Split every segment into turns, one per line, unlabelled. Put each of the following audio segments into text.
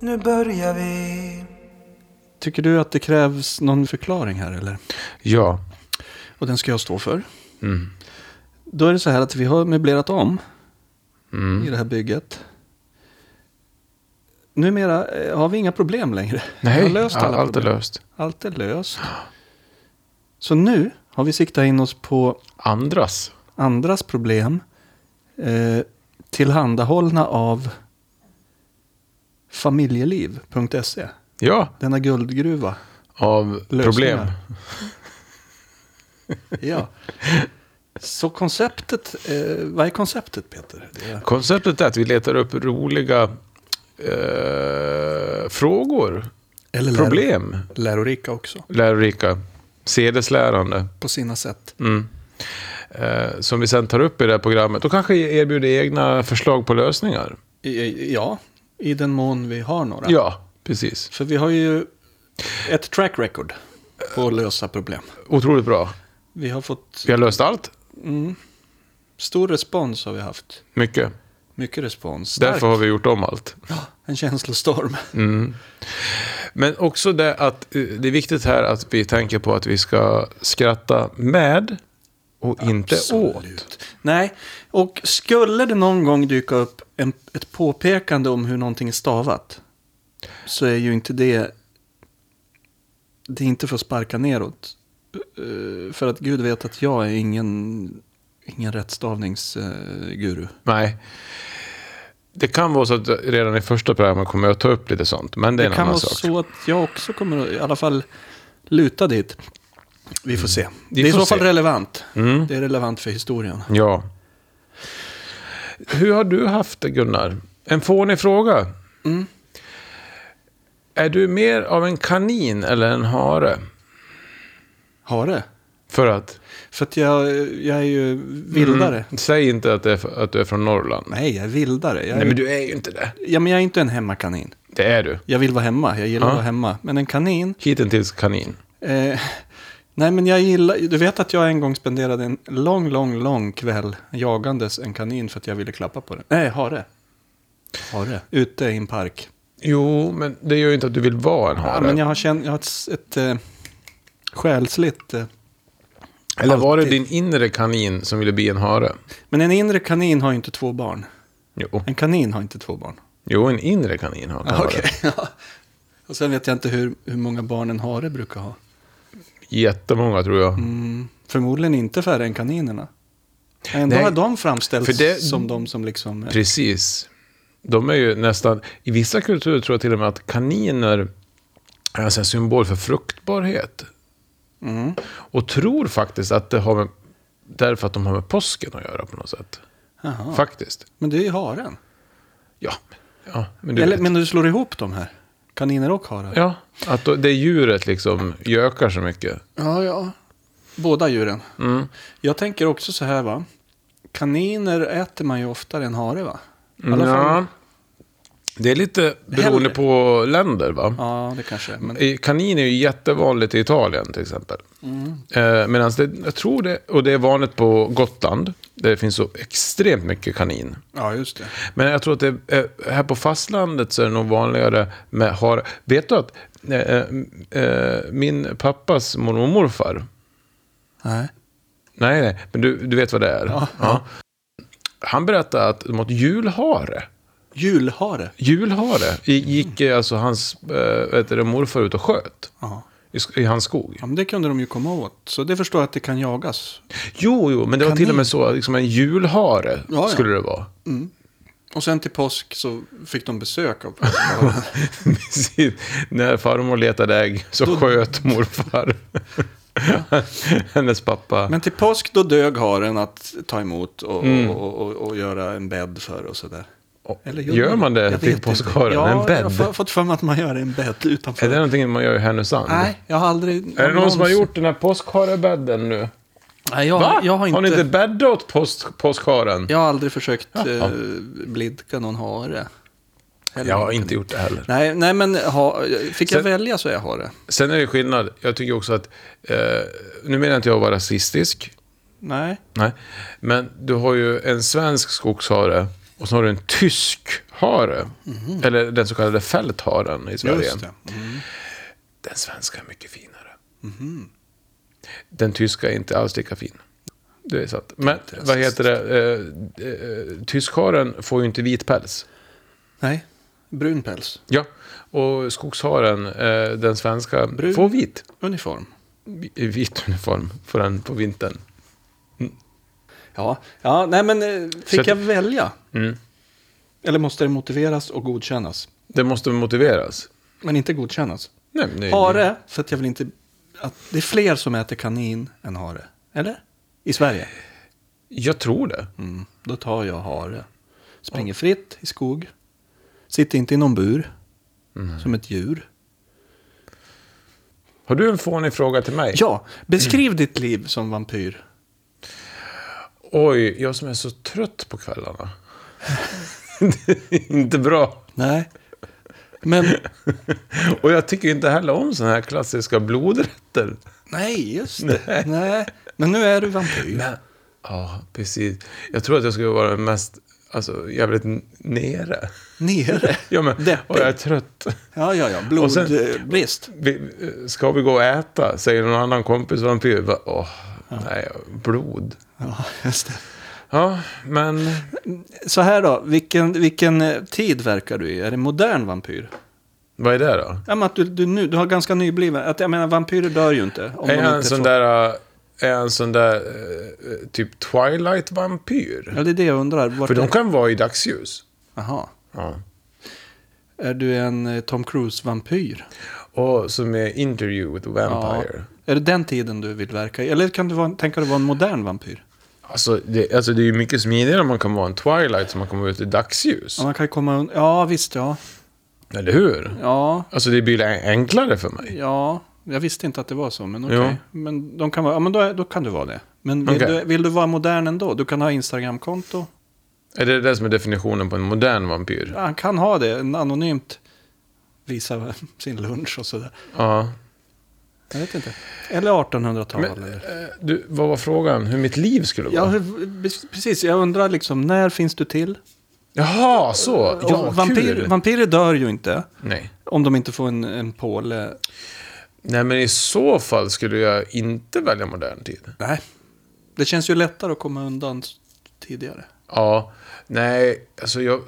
nu börjar vi.
Tycker du att det krävs någon förklaring här eller?
Ja.
Och den ska jag stå för.
Mm.
Då är det så här att vi har möblerat om
Mm.
i det här bygget. Numera eh, har vi inga problem längre. vi har
Nej,
löst alla
allt är
problem.
löst.
Allt är löst. Så nu har vi siktat in oss på
Andras.
andras problem eh, tillhandahållna av familjeliv.se.
Ja,
E, Denna guldgruva.
av problem.
Lösningar. Ja. Så konceptet, eh, vad är konceptet Peter? Det är,
Konceptet är att vi letar upp roliga eh, frågor,
eller läro-
problem,
lärorika också,
lärorika, sedeslärande.
på sina sätt.
Mm. Eh, som vi sen tar upp i det här programmet och kanske erbjuder egna förslag på lösningar.
I, i- ja, i den mån vi har några.
Ja, precis.
För vi har ju ett track record på att lösa problem.
Otroligt bra.
Vi har fått
Vi har löst allt,
mm, stor respons har vi haft.
mycket.
Mycket respons.
Därför har vi gjort om allt.
En känslostorm.
Mm. Men också det att eh, det är viktigt här att vi tänker på att vi ska skratta med och inte åt.
Nej, och skulle det någon gång dyka upp en, ett påpekande om hur någonting är stavat så är ju inte det... Det är inte för att sparka neråt. Eh, För att Gud vet att jag är ingen, ingen rättstavningsguru.
Nej. Det kan vara så att redan i första programmet kommer jag ta upp lite sånt, men det är
Det
en
kan vara
annan sak.
så att jag också kommer att i alla fall luta dit. Vi får se. det är i
Mm. får
så fall
se.
relevant.
Mm.
Det är relevant för historien.
Ja. Hur har du haft det, Gunnar? En fånig fråga.
Mm.
Är du mer av en kanin eller en hare?
Har det.
För att?
För att jag, jag är ju vildare.
Mm. Säg inte att, det är, f- att du är från Norrland.
Nej, jag är vildare. Jag är,
Nej, men du är ju inte det.
Ja, men jag är inte en hemmakanin.
Det är du.
Jag vill vara hemma, jag gillar
Ja.
att vara hemma. Men en kanin?
Hittills kanin.
Eh, nej, men jag gillar... Du vet att jag en gång spenderade en lång, lång, lång kväll jagandes en kanin för att jag ville klappa på den. Nej, hare. Hare. Ute i en park.
Jo, men det gör ju inte att du vill vara en hare.
Ja, men jag har, känt, jag har ett, ett eh, själsligt... Eh.
Eller var det
alltid.
din inre kanin som ville bli en hare?
Men en inre kanin har ju inte två barn.
Jo,
En kanin har inte två barn.
jo en inre kanin har en hare.
Okej. ja. Och sen vet jag inte hur, hur många barn en hare brukar ha.
Jättemånga tror jag.
Mm, förmodligen inte färre än kaninerna. Ändå
Nej,
har de framställts
för det-
som de som liksom... eh,
Precis. De är ju nästan, i vissa kulturer tror jag till och med att kaniner är en sån här symbol för fruktbarhet.
Mm.
Och tror faktiskt att det har med, därför att de har med påsken att göra på något sätt.
Jaha.
Faktiskt.
Men det är ju haren.
Ja. ja men du
Eller
vet.
men du slår ihop de här? Kaniner och harar?
Ja, att då, det djuret liksom gökar så mycket.
ja. ja. Båda djuren.
Mm.
Jag tänker också så här va. Kaniner äter man ju oftare än hare va? I alla fall-
Mm, Ja. Det är lite beroende
Hellre.
på länder va?
Ja, det kanske är. Men...
I- Kanin är ju jättevanligt i Italien till exempel.
Mm.
Eh, Medan det, jag tror det, och det är vanligt på Gotland, där det finns så extremt mycket kanin.
Ja, just det.
Men jag tror att det, eh, här på fastlandet så är det nog vanligare med har. Vet du att eh, eh, min pappas mormor och morfar,
Nej.
nej, nej, men du, du vet vad det är.
Ja.
Ja. Han berättade att de åt julhare.
Julhare?
Julhare i- gick eh, alltså hans äh, vet du, det, morfar ut och sköt
Ja.
i, sk- i hans skog.
ja, men det kunde de ju komma åt. Så det förstår jag att det kan jagas.
Jo, jo, men det var till
Kanin.
och med så, liksom en julhare
Ja, ja.
skulle det vara.
Och sen till påsk så fick de besök av
Precis. När farmor letade ägg så sköt morfar hennes pappa.
Men till påsk då dög haren att ta emot och, och, och, och göra en bädd för och sådär.
Mm. Och gör man det
Jag
till
vet inte.
påskharen?
Ja,
En
jag har
bädd?
fa- fått för mig att man gör en bädd utanför.
Är det någonting man gör i Härnösand?
Nej, jag har aldrig...
Är det någon som har gjort den här påskharebädden nu?
Nej, jag,
Va?
jag har inte...
ni inte bäddat åt påsk, påskharen?
Jag har aldrig försökt
Jaha.
eh, blidka någon hare. Eller-
Jag har inte gjort det heller.
Nej, nej, men ha, fick jag
Sen-
välja så är jag hare.
Sen är det skillnad. Jag tycker också att... Eh, nu menar jag inte jag att vara rasistisk.
Nej.
Nej. Men du har ju en svensk skogshare Och så har du en tysk hare. Eller den så kallade fältharen i Sverige.
Mhm. Just det. Mm.
Den svenska är mycket finare.
Mhm.
Den tyska är inte alls lika fin. Det är sant. Men vad heter det? Eh, eh, Tyskharen får ju inte vit päls.
Nej, brun päls.
Ja. Och skogsharen, eh, den svenska,
Brun.
får vit.
Uniform.
I vit uniform får den på vintern.
Ja, ja nej men eh,
Så att-
fick jag välja?
Mm.
Eller måste det motiveras och godkännas?
Det måste motiveras.
Men inte godkännas.
Nej, men det är-
Hare, för att jag vill inte... Att det är fler som äter kanin än hare. Eller? I Sverige.
Jag tror det.
Mm, då tar jag hare. Springer fritt i skog. Sitter inte i någon bur. Som ett djur.
Har du en fånig fråga till mig?
Ja, beskriv ditt liv som vampyr.
Oj, jag som är så trött på kvällarna. det är inte bra.
Nej. Men,
Och jag tycker inte heller om såna här klassiska blodrätter.
nej just det. Nej. Men nu är du vampyr.
Men, ja, precis. Jag tror att jag skulle vara den mest, alltså, jävligt n- nere.
Nere.
Ja, men, och jag är trött.
Ja, ja, eh, ja.
Och sen-
Blodbrist.
Vi, ska vi gå och äta? Säger någon annan kompis vampyr. Va, åh, nej, blod.
Ja, just det.
Ja, men
Så här då, vilken, vilken eh, tid verkar du i? Är det modern vampyr?
vad är det då?
Ja, men att du, du, nu, du har ganska nybliven, att jag menar vampyrer dör ju inte. Om
Är
de
jag en
inte
sån
får-
där, äh, är jag en sån där äh, typ Twilight-vampyr?
Ja, det är det jag undrar. Vart
För de
är...
kan vara i dagsljus.
Aha.
Ja.
Är du en eh, Tom Cruise-vampyr?
Och som är Interview with a Vampire.
Är det den tiden du vill verka i? Eller kan du vara, tänka dig vara en modern vampyr?
Alltså, det, alltså det är ju mycket smidigare om man kan vara en Twilight som man kommer ut i dagsljus.
Ja, man kan ju komma und- Ja, visst ja.
Eller hur?
Ja,
Alltså det blir en- enklare för mig.
ja. Jag visste inte att det var så, men okej.
Ja.
Men, de kan vara, ja, men då, är- då kan du vara det. Men vill,
Okej.
du, vill du vara modern ändå? Du kan ha Instagram-konto.
Är det det som är definitionen på en modern vampyr?
Ja, Han kan ha det, en anonymt visa sin lunch och sådär.
Ja.
Jag vet inte. Eller 1800-tal.
Men,
eller-
eh, du, vad var frågan? Hur mitt liv skulle vara?
Ja, hur- precis. Jag undrar liksom, när finns du till?
Jaha, så. Ja,
Och vampyr,
kul.
vampyrer dör ju inte.
Nej.
Om de inte får en, en påle.
Nej, men i så fall skulle jag inte välja modern tid.
Nej. Det känns ju lättare att komma undan s- tidigare.
Ja, nej, alltså jag, eh,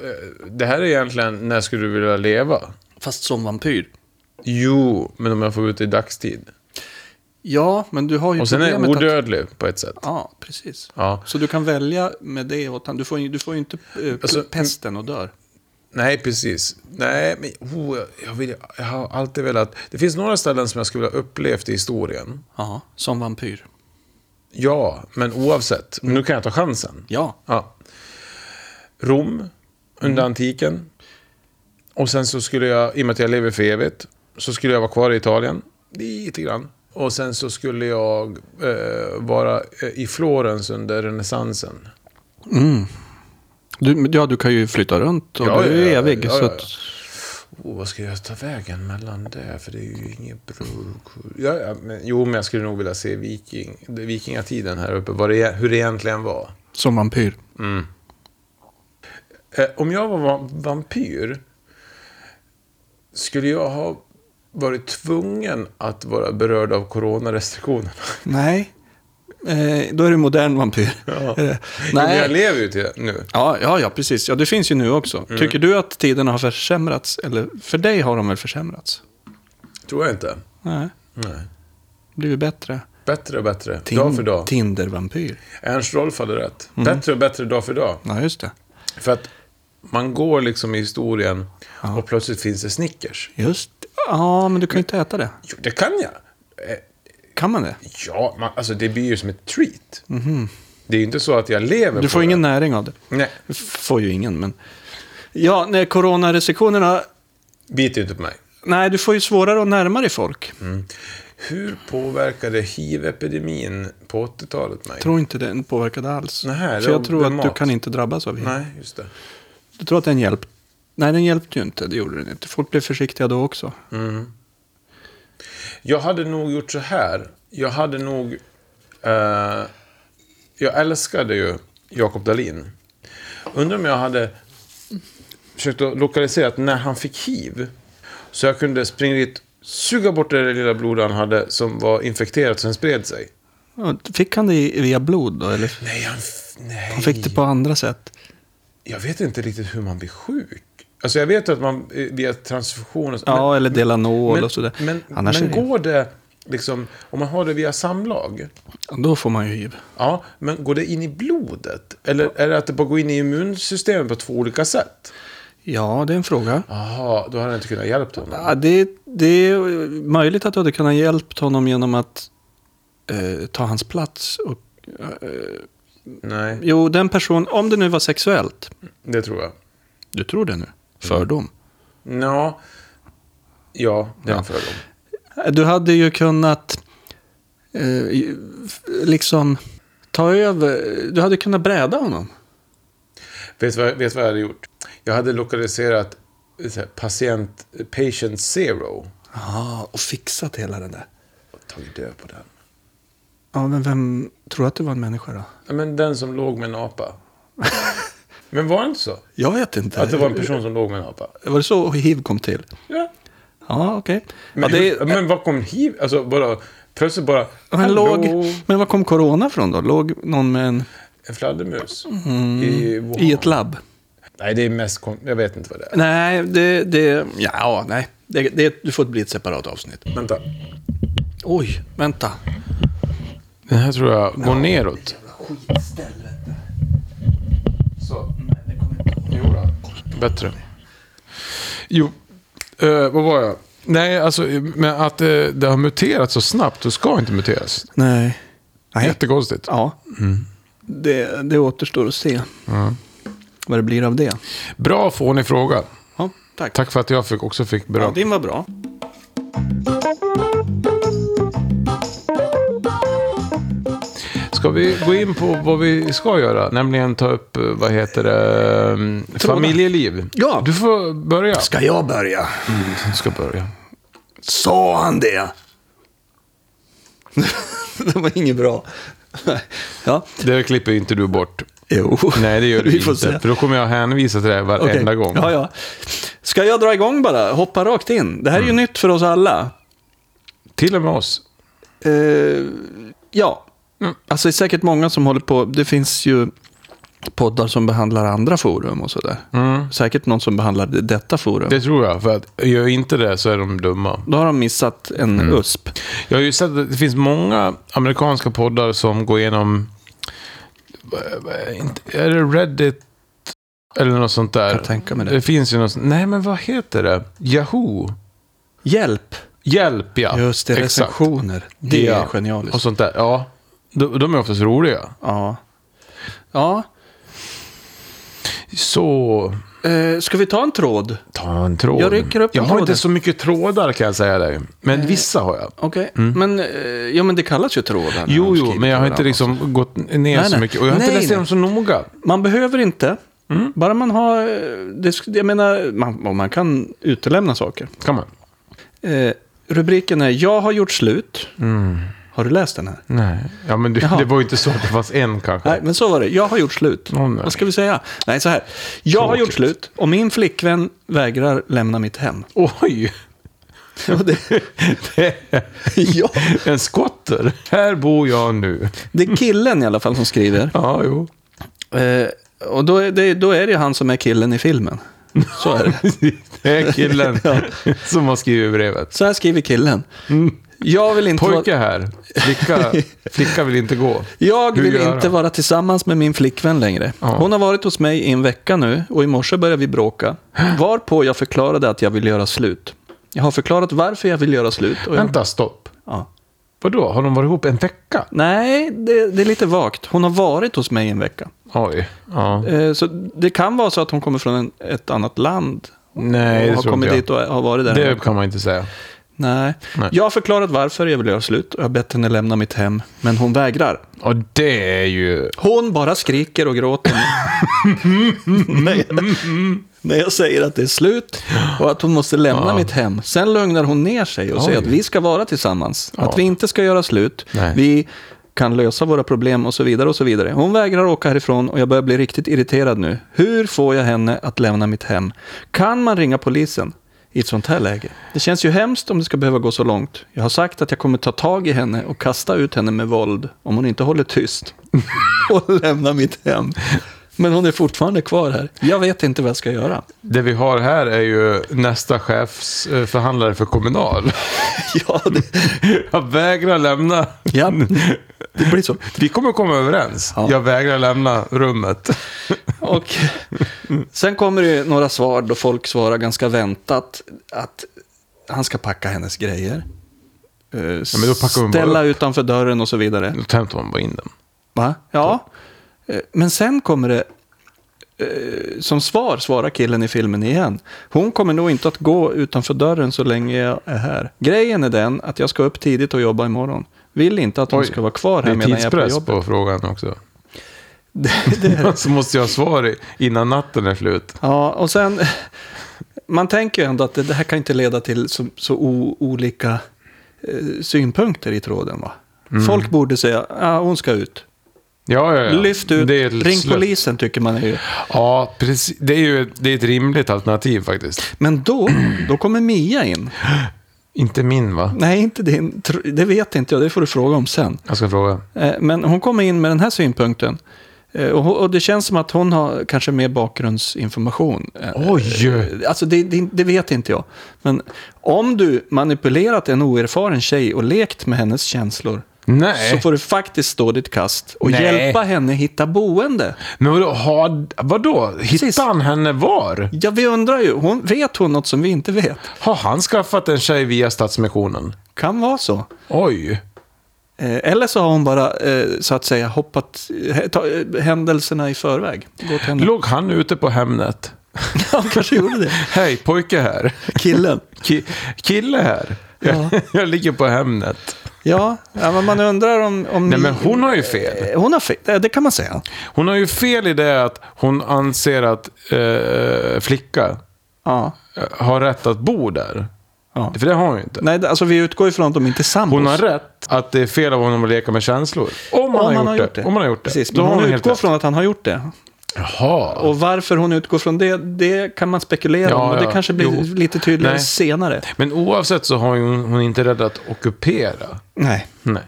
det här är egentligen när skulle du vilja leva?
Fast som vampyr.
Jo, men om jag får ut det i dagstid.
Ja, men du har ju
Och sen är jag
problemet att...
odödlig på ett sätt.
Ja, precis.
Ja.
Så du kan välja med det åt Du får ju, du får ju inte eh,
Alltså,
pesten och dör.
Nej, precis. Nej, men oh, jag- jag, vill, jag har alltid velat... Det finns några ställen som jag skulle ha upplevt i historien.
Ja, som vampyr.
Ja, men oavsett. Men nu kan jag ta chansen.
Ja.
Ja. Rom, under antiken. Och sen så skulle jag, i och med att jag lever för evigt, så skulle jag vara kvar i Italien. Lite grann. Och sen så skulle jag eh, vara eh, i Florens under renässansen.
Mm. Du, ja, du kan ju flytta runt och
Ja,
du är
ja, ja,
evig.
ja,
så
ja,
att,
Oh, vad ska jag ta vägen mellan det? För det är ju inget bra. Ja, ja, men, jo, men jag skulle nog vilja se viking, det- vikingatiden här uppe. Vad det, e-, hur det egentligen var.
Som vampyr.
Eh, om jag var va- vampyr skulle jag ha varit tvungen att vara berörd av coronarestriktionerna.
Nej, eh, då är du modern vampyr. Eh,
Men jag
Nej.
lever ju till det nu.
Ja, ja, ja, precis. Ja, det finns ju nu också.
Mm.
Tycker du att tiderna har försämrats? Eller för dig har de väl försämrats?
Tror jag inte.
Nej,
Nej.
blivit bättre.
Bättre och bättre.
Tin-
dag för dag.
Tinder-vampyr.
Ernst Rolf hade rätt.
Mm.
Bättre och bättre dag för dag.
Ja, just det.
För att man går liksom i historien och plötsligt finns det Snickers.
Just det. Ja, men du kan ju inte äta det.
Jo, det kan jag. Eh,
Kan man det?
Ja, man, alltså det blir ju som ett treat. Det är ju inte så att jag lever
Mhm. Du
på
får
det.
ingen näring av det.
Nej,
F- Får ju ingen, men... Ja, när coronarestriktionerna...
bit inte på mig.
Nej, du får ju svårare att närma dig folk.
Mm. Hur påverkade hiv-epidemin på 80-talet mig?
Jag tror inte den påverkade alls.
Nähä, det
För jag
var-
tror
det
att
mat.
du kan inte drabbas av hiv.
Nej, just det.
Jag tror att den hjälpte. Nej, den hjälpte ju inte. Det gjorde den inte. Folk blev försiktiga då också.
Mm. Jag hade nog gjort så här. Jag hade nog... eh, jag älskade ju Jakob Dahlin. Undrar om jag hade försökt att lokalisera när han fick hiv. Så jag kunde springa dit, suga bort det där lilla blodet han hade som var infekterat och sen spred sig.
Ja, Fick han det i- via blod då? Eller
Nej, han... f- Nej.
han fick det på andra sätt?
Jag vet inte riktigt hur man blir sjuk. Alltså jag vet att man eh, via transfusioner...
Ja, eller Delanol och sådär.
Men,
Annars
men
är det,
går det, liksom, om man har det via samlag,
ju- då får man ju hiv.
ja, men går det in i blodet? Eller är det att det bara går in i immunsystemet på två olika sätt?
Ja, det är en fråga.
Jaha, då hade jag inte kunnat hjälpa honom.
Ja, det, det är möjligt att du hade kunnat hjälpt honom genom att eh, ta hans plats. Och,
Nej,
jo, den person, om det nu var sexuellt.
det tror jag.
Du tror det nu?
Mm.
Fördom.
Ja, ja det är en
Ja.
fördom.
Du hade ju kunnat eh, f- liksom ta över. Du hade kunnat bräda honom.
Vet du vad, vet du vad jag hade gjort? Jag hade lokaliserat eh, så här, patient, eh, patient zero.
Ja, och fixat hela den där.
Och tagit död på den.
Ja, men vem tror att det var en människa då?
Ja, Men den som låg med en apa. Men var det inte så?
Jag vet inte.
Att det var en person som låg med en apa?
Var det så hiv kom till?
Ja.
Ja, okej. Ja,
Men,
det
hur- men vad kom hiv? Alltså bara, plötsligt bara...
men,
hallå,
låg, men var kom corona från då? Låg någon med en,
En fladdermus? Mm. I, Wuhan.
i ett labb?
Nej, det är mest kon... Jag vet inte vad det är.
Nej, det... det ja, nej. Det, det, du får bli ett separat avsnitt.
Vänta.
Oj, vänta.
Den här tror jag går neråt.
Skitställe.
Så. Jo då. Bättre. Jo, eh, vad var jag? Nej, alltså men att eh, det har muterat så snabbt och ska inte muteras.
Nej. Nej.
Jättekonstigt.
Ja.
Mm.
Det, det återstår att se. Vad det blir av det.
Bra fånig fråga.
Ja, tack.
Tack för att jag fick, också fick
Ja,
beröm.
din var bra.
Ska vi gå in på vad vi ska göra? Nämligen ta upp, eh, vad heter det, ehm, familjeliv.
Ja.
Du får börja.
Ska jag börja?
Du ska börja.
Sa han det? det var inget bra. ja,
Det här klipper inte du bort.
jo.
Nej, det gör du
Vi får
inte.
se.
För då kommer jag hänvisa till det här
Okej.
varenda gång.
Ja, ja. Ska jag dra igång bara? Hoppa rakt in. Det här är
Mm.
ju nytt för oss alla.
Till och med oss.
Eh, ja,
Mm.
alltså det är säkert många som håller på. Det finns ju poddar som behandlar andra forum och sådär. Säkert någon som behandlar det- detta forum.
Mm. Det tror jag. För att gör inte det så är de dumma.
Då har de missat en
Mm.
USP.
Jag har ju sett att det finns många amerikanska poddar som går igenom... vad- vad är inte- Är det Reddit? Eller något sånt där.
Jag tänker mig det.
det finns ju något... Nej, men vad heter det? Yahoo?
Hjälp!
Hjälp, ja.
Just det,
Exakt.
recensioner. Det är
Ja.
genialiskt.
Och sånt där. Ja. De, de är oftast roliga.
Ja. ja.
Så...
Eh, ska vi ta en tråd?
Ta en tråd.
Jag rycker upp en
Jag har
tråd här.
inte så mycket trådar kan jag säga dig. Men vissa har jag.
Okej. Men, eh, ja, men det kallas ju trådar. när
Mm. Jo,
de
jo,
skriver
men jag har
till
inte
varandra.
liksom gått ner
Nej,
så
nej.
mycket. Och jag har
Nej,
inte läst
nej.
igenom så noga.
Man behöver inte.
Mm.
Bara man har... eh, Det, sk- jag menar, man, man kan utelämna saker.
Kan man?
Eh, rubriken är Jag har gjort slut.
Mm.
Har du läst den här?
Nej. Ja, men du,
Jaha.
det var ju inte så att det fanns en kanske.
Nej, men så var det. Jag har gjort slut.
Åh, nej.
Vad ska vi säga? Nej, så här. Jag har
Tråkigt.
gjort slut och min flickvän vägrar lämna mitt hem.
Oj!
Och det,
Det är
ja,
en skotter. Här bor jag nu.
det är killen i alla fall som skriver.
Ja, jo.
Eh, och då är, det, då är det ju han som är killen i filmen. Så är det.
Det är killen
Ja.
som har skrivit brevet.
Så här skriver killen. Jag vill inte, vara,
Mm. Pojke här. Flicka, flicka vill inte gå.
jag
Hur
vill
gör
inte
han?
vara tillsammans med min flickvän längre.
Ja.
Hon har varit hos mig i en vecka nu och i morse började vi bråka. Varpå jag förklarade att jag vill göra slut. Jag har förklarat varför jag vill göra slut. Och jag,
Vänta, stopp.
ja.
Vadå, har de varit ihop en vecka?
Nej, det, det är lite vagt. Hon har varit hos mig i en vecka.
Oj. Ja.
Eh, så det kan vara så att hon kommer från en, ett annat land.
Nej,
och
det
har
tror
kommit
inte
dit och har varit där.
jag. Det kan man inte säga.
Nej.
Nej.
Jag har förklarat varför jag vill göra slut och jag har bett henne lämna mitt hem, men hon vägrar.
Och det är ju...
Hon bara skriker och gråter när, jag, när jag säger att det är slut och att hon måste lämna mitt hem. Sen lugnar hon ner sig och säger
Oj.
att vi ska vara tillsammans,
Ja.
att vi inte ska göra slut.
Nej.
Vi kan lösa våra problem och så vidare och så vidare. Hon vägrar åka härifrån och jag börjar bli riktigt irriterad nu. Hur får jag henne att lämna mitt hem? Kan man ringa polisen i ett sånt här läge? Det känns ju hemskt om det ska behöva gå så långt. Jag har sagt att jag kommer ta tag i henne och kasta ut henne med våld om hon inte håller tyst och lämnar mitt hem. Men hon är fortfarande kvar här. Jag vet inte vad jag ska göra.
Det vi har här är ju nästa chefsförhandlare för Kommunal.
Ja, det,
Jag vägrar lämna.
ja, det blir så.
Vi kommer komma överens.
Ja.
Jag vägrar lämna rummet.
Och sen kommer det några svar då folk svarar ganska väntat att han ska packa hennes grejer. Eh,
men då packar hon bara
ställa utanför dörren och så vidare.
Då tömde man bara in den.
Va? Ja. Eh, Men sen kommer det, eh, som svar svarar killen i filmen igen. Hon kommer nog inte att gå utanför dörren så länge jag är här. Grejen är den att jag ska upp tidigt och jobba imorgon. Vill inte att hon
Oj,
ska vara kvar
Det
här
är
medan jag är på
tidspress
jobbet.
på frågan också.
Det, det är
Så måste jag ha svar i- innan natten är slut.
Ja, och sen... Man tänker ju ändå att det, det här kan inte leda till så, så o, olika eh, synpunkter i tråden. Va? Folk borde säga, ja hon ska ut.
Mm. Ja, ja, ja.
Lyft ut,
Det är ett
ring
slut.
polisen tycker man är ju.
Ja, precis. Det är ju ett, det är ett rimligt alternativ faktiskt.
Men då, då kommer Mia in.
Inte min va?
Nej, inte din. tr- Det vet inte jag, det får du fråga om sen.
Jag ska fråga.
Eh, Men hon kommer in med den här synpunkten. Eh, Och, hon- och det känns som att hon har kanske mer bakgrundsinformation. eh,
Oj!
Alltså det, det, det vet inte jag. Men om du manipulerat en oerfaren tjej och lekt med hennes känslor så
Nej.
får du faktiskt stå ditt kast och
Nej.
hjälpa henne hitta boende.
Men vadå? Har, vadå?
Precis.
Hittade han henne var?
Ja, vi undrar ju. Hon, vet hon något som vi inte vet?
Har han skaffat en tjej via Stadsmissionen?
Kan vara så.
Oj.
Eh, Eller så har hon bara, eh, så att säga, hoppat eh, ta, eh, händelserna i förväg. Gått henne.
Låg han ute på Hemnet?
Han kanske gjorde det.
Hej, pojke här.
Killen.
Ki- kille här.
Ja.
Jag, jag ligger på Hemnet.
Ja, ja, men man undrar om... om
Nej, men hon har ju fel.
Eh, Hon har fel, Eh, det kan man säga.
Hon har ju fel i det att hon anser att eh, flicka
Ja.
eh, har rätt att bo där.
ja.
För det har hon ju inte.
Nej, det- alltså vi utgår ifrån att de inte är sambos.
Hon har rätt att det är fel av honom att leka med känslor. Om han, har, gjort det. Om han har gjort det.
Precis,
Då
men
har
hon
hon helt
utgår
rätt.
från att han har gjort det.
Jaha.
Och varför hon utgår från det, det kan man spekulera
Ja,
om. Och det
ja.
kanske blir
Jo.
lite tydligare
Nej.
senare.
Men oavsett så har ju hon, hon inte rädd att ockupera.
Nej.
Nej.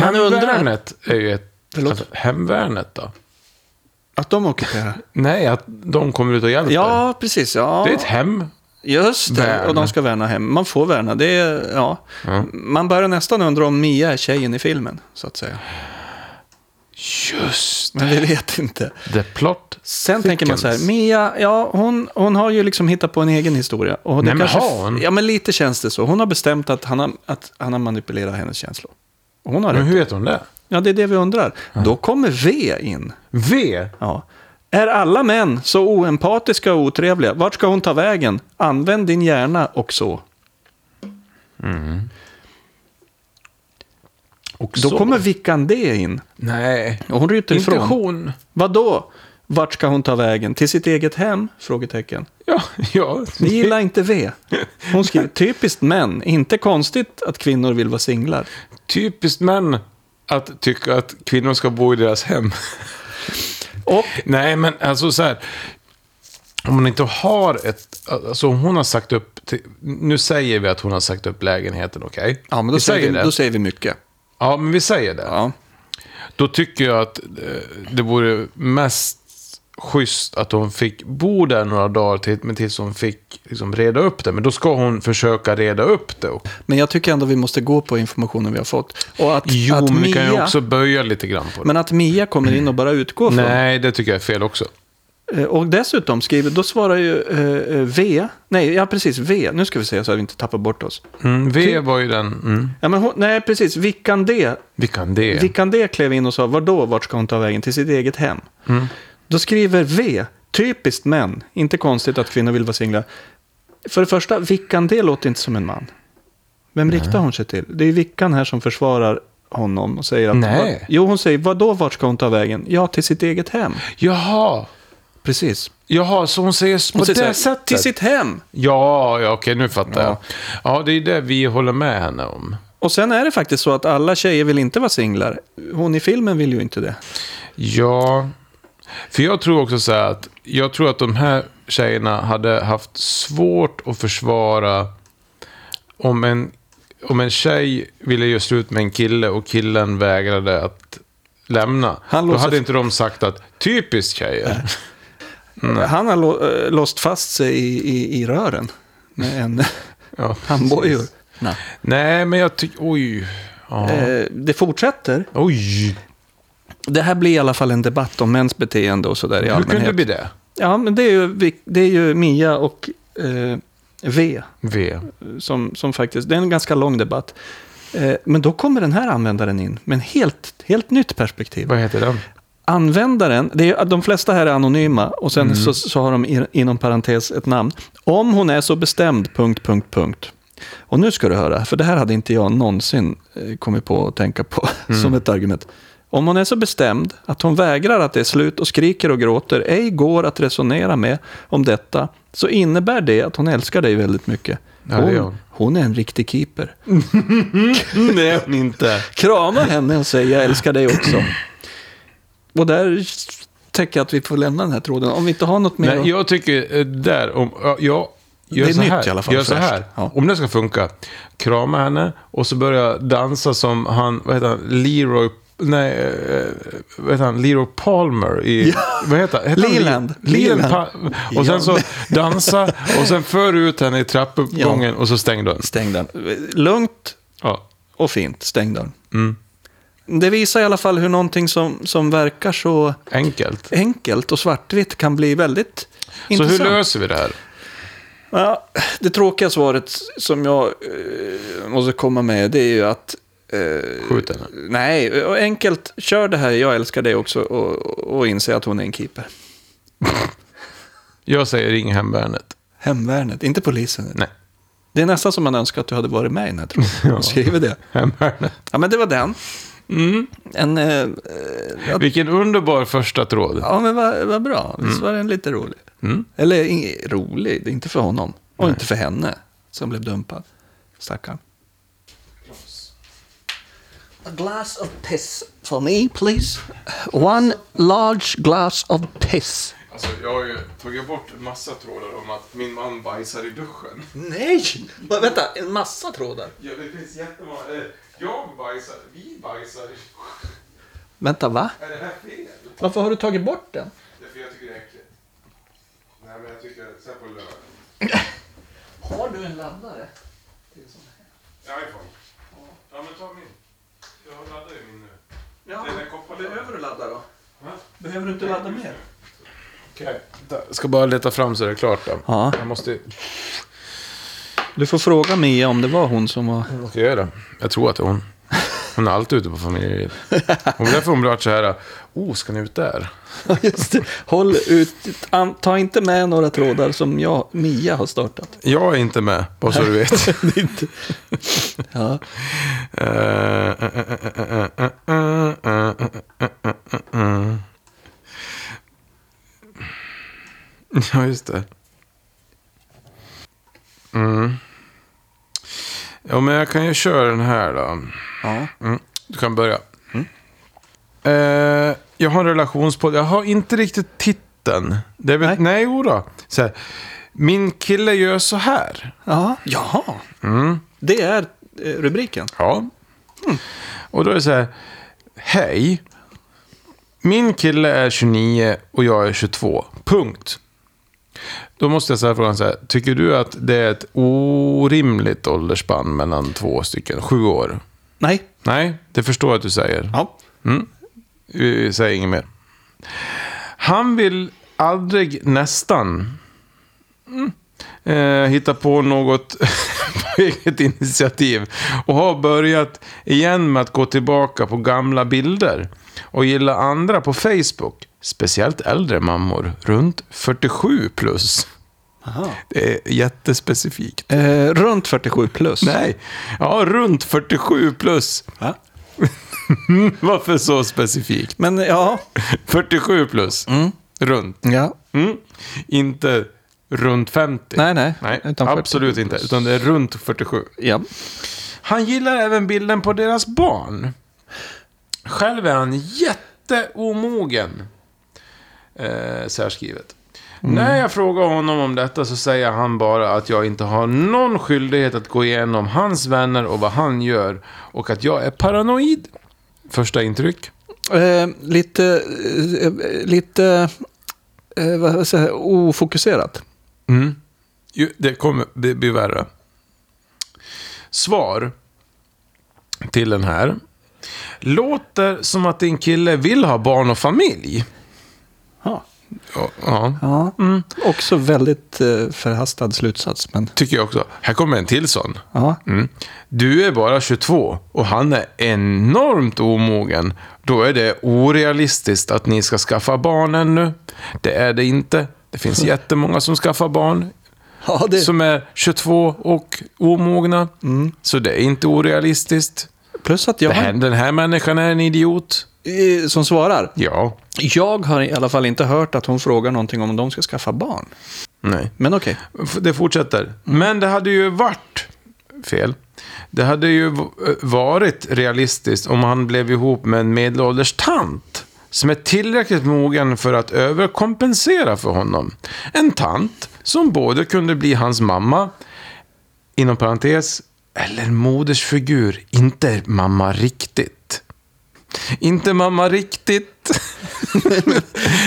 Man undrar-
Hemvärnet är ju ett...
Förlåt?
Alltså, hemvärnet då?
Att de ockuperar.
Nej, att de kommer ut och hjälper.
Ja, precis. Ja.
Det är ett hem.
Just det.
Värn.
Och de ska värna hem. Man får värna. Det är, ja. Man börjar nästan undra om Mia är tjejen i filmen, så att säga.
Just
Men vi vet inte.
The plot.
Sen tänker man så här,
Thickens.
Mia, ja, hon, hon har ju liksom hittat på en egen historia. Och det
Nej, men
kanske,
har hon?
Ja, men lite känns det så. Hon har bestämt att han har, att han har manipulerat hennes känslor. Och Hon har
Men
rätt.
hur vet hon det?
Ja, det är det vi undrar. Då kommer V in.
V?
Ja. Är alla män så oempatiska och otrevliga? Vart ska hon ta vägen? Använd din hjärna och så.
Och
Då
så.
kommer Vickan D in.
Nej.
Och hon ryter
Inte
ifrån.
hon.
Vad då? Vart ska hon ta vägen? Till sitt eget hem? Frågetecken.
Ja, ja.
Ni gillar inte V. Hon skriver typiskt män. Inte konstigt att kvinnor vill vara singlar.
Typiskt män att tycka att kvinnor ska bo i deras hem.
Och
Nej, men alltså så här. Om hon inte har ett... Alltså om hon har sagt upp... Till, nu säger vi att hon har sagt upp lägenheten, okej?
ja, men då,
vi
säger vi,
det.
då säger vi mycket.
Ja, men vi säger det.
Ja.
Då tycker jag att eh, det vore mest schysst att hon fick bo där några dagar till, men tills hon fick liksom, reda upp det. Men då ska hon försöka reda upp det. Och,
Men jag tycker ändå vi måste gå på informationen vi har fått. Och att,
jo,
att
men vi
Mia,
kan ju också böja lite grann på det.
Men att Mia kommer in och bara utgår från.
Nej, det tycker jag är fel också.
Eh, Och dessutom skriver, då svarar ju eh, eh, V, nej, ja precis, V, nu ska vi se så att vi inte tappar bort oss.
Mm, v var ju den... Mm,
Ja, men hon, nej, precis, Vickan D,
vi kan det.
Vickan D klev in och sa, vadå, vart ska hon ta vägen? Till sitt eget hem. Då skriver V, typiskt män, inte konstigt att kvinnor vill vara singlar. För det första, Vickan D låter inte som en man. Vem riktar hon sig till? Det är Vickan här som försvarar honom och säger att...
Nej.
"Va- Jo, hon säger, vadå, vart ska hon ta vägen? Ja, till sitt eget hem.
Jaha.
Precis.
Jaha, så hon säger på
Hon säger så här,
det sättet?
Till sitt hem.
Ja, ja, okej, nu fattar
Ja.
jag. Ja, det är det vi håller med henne om.
Och sen är det faktiskt så att alla tjejer vill inte vara singlar. Hon i filmen vill ju inte det.
Ja, för jag tror också så här att jag tror att de här tjejerna hade haft svårt att försvara om en, om en tjej ville göra slut med en kille och killen vägrade att lämna.
Han
då
låser-
hade inte de sagt att typiskt tjejer.
Han har lo- eh, låst fast sig i, i, i rören med en
Ja,
handbojor.
precis. Nej, men jag tycker... Oj. Ja.
Eh, Det fortsätter.
Oj.
Det här blir i alla fall en debatt om mäns beteende och sådär i
Hur kunde
allmänhet.
det bli det?
Ja, men det är ju, vi- det är ju Mia och eh, V
V.
som, som faktiskt, det är en ganska lång debatt. Eh, men då kommer den här användaren in med en helt, helt nytt perspektiv.
Vad heter den?
Användaren, det är, de flesta här är anonyma och sen
Mm.
så, så har de in, inom parentes ett namn. Om hon är så bestämd, punkt, punkt, punkt. Och nu ska du höra, för det här hade inte jag någonsin eh, kommit på att tänka på som
Mm.
ett argument. Om hon är så bestämd att hon vägrar att det är slut och skriker och gråter, ej går att resonera med om detta, så innebär det att hon älskar dig väldigt mycket.
Ja, det gör
Hon,
hon.
hon är en riktig keeper.
Nej, inte.
Krama henne och säg jag älskar dig också. Och där tänker jag att vi får lämna den här tråden. Om vi inte har något mer.
Nej, jag tycker eh, där om... ja, Jag, gör
Det är
så
nytt
här,
i alla fall,
Gör så
fräscht.
här.
Ja.
Om det ska funka. Krama henne och så börja jag dansa som han, vad heter han, Leroy... Nej, eh, vad heter han? Leroy Palmer i... Vad heter han? Heter han?
Leland.
Leland.
Leland.
Pa- och sen så dansa och sen för ut henne i trappuppgången och så stäng dörren.
Stäng den. Lugnt
Ja.
och fint, stäng den.
Mm.
Det visar i alla fall hur någonting som, som verkar så
Enkelt.
enkelt och svartvitt kan bli väldigt
Så
intressant.
hur löser vi det här?
Ja, det tråkiga svaret som jag eh, måste komma med det är ju att... eh,
Skjut henne.
nej, och enkelt, kör det här, jag älskar dig också och, och inse att hon är en keeper.
Jag säger ring hemvärnet.
Hemvärnet, inte polisen.
Nej.
Det är nästan som man önskar att du hade varit med i den här tråden och skrivit det.
Hemvärnet.
Ja, men det var den. En, eh, eh, att-
Vilken underbar första tråd.
ja, men vad vad bra. Visst var den lite rolig? Eller ing- rolig, det är inte för honom. Och inte för henne som blev dumpad. Stackarn. A glass of piss for me, please. One large glass of piss.
Alltså, jag har ju tagit bort en massa trådar om att min man bajsar i duschen.
Nej! Va- Vänta, en massa trådar.
Ja, det finns jättemånga. eh, Jag bajsar, vi bajsar i duschen.
Vänta, va?
Är det här fel?
Varför har du tagit bort den?
Det är för jag tycker det är äckligt. Nej, men jag tycker sen på lördag.
Har du en laddare?
Ja, iPhone. Ja, men ta min. Jag laddar ju min nu.
Ja,
Den är kopplad.
behöver du ladda då? Behöver du inte ladda mer?
Okej. Jag ska bara leta fram så det är klart då.
Ja.
Jag måste...
Du får fråga Mia om det var hon som var...
Hon ska göra det. Jag tror att det är hon. Hon är alltid ute på familjeliv. Hon därför hon blivit så här. Oh, ska ni ut där?
Just det. Håll ut, an, ta inte med några trådar som jag, Mia har startat.
Jag är inte med, bara så du vet.
Det är inte- ja.
Ja, just det. Mm. Ja, men jag kan ju köra den här då.
ja.
Mm. Du kan börja. Eh, jag har en relationspodd. Jag har inte riktigt titeln. Det är väl, nej,
Nej.
nej jodå. Så här. Min kille gör så här.
ja. Jaha. Det är eh, rubriken.
Ja. Och då är det så här. Hej. Min kille är 29 och jag är 22. Punkt. Då måste jag säga frågan så här. Tycker du att det är ett orimligt åldersspann mellan två stycken? Sju år?
Nej.
Nej, det förstår jag att du säger.
Ja.
Vi säger inget mer. Han vill aldrig nästan mm, eh, hitta på något på eget initiativ. Och har börjat igen med att gå tillbaka på gamla bilder. Och gilla andra på Facebook. Speciellt äldre mammor runt 47 plus.
Aha.
Det är jättespecifikt.
Eh, runt 47 plus.
Nej, ja runt 47 plus.
Va?
Varför så specifikt?
Men ja.
47 plus. Runt.
ja.
Mm. Inte runt 50.
Nej, nej.
Nej
Utan 47
absolut inte.
plus.
Utan det är runt 47.
Ja.
Han gillar även bilden på deras barn. Själv är han jätteomogen. Eh, särskrivet.
Mm.
När jag frågar honom om detta så säger han bara att jag inte har någon skyldighet att gå igenom hans vänner och vad han gör. Och att jag är paranoid. Första intryck.
Eh, lite, eh, lite eh, vad säger, jag, ofokuserat.
Mm. Ju, det kommer bli, bli värre. Svar till den här. Låter som att din kille vill ha barn och familj.
Ja.
Ja, ja.
Ja. Också väldigt eh, förhastad slutsats. Men,
tycker jag också. Här kommer en till sån.
ja.
Mm. Du är bara 22 och han är enormt omogen. Då är det orealistiskt att ni ska skaffa barn ännu. Det är det inte. Det finns jättemånga som skaffar barn
Ja, det,
som är 22 och omogna. Så det är inte orealistiskt.
plus att jag
Det
har,
här, den här människan är en idiot.
eh, som svarar.
Ja.
Jag har i alla fall inte hört att hon frågar någonting om de ska skaffa barn.
Nej.
Men okej.
F- Det fortsätter. Men det hade ju varit fel. Det hade ju v- eh, varit realistiskt om han blev ihop med en medelålders tant som är tillräckligt mogen för att överkompensera för honom. En tant som både kunde bli hans mamma, inom parentes, eller modersfigur, inte mamma riktigt. Inte mamma riktigt.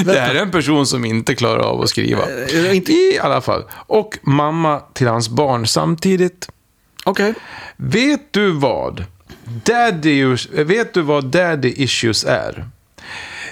det här är en person som inte klarar av att skriva.
Eh, inte-
I alla fall. Och mamma till hans barn samtidigt.
Okej.
Vet du vad? Daddy, vet du vad daddy issues är?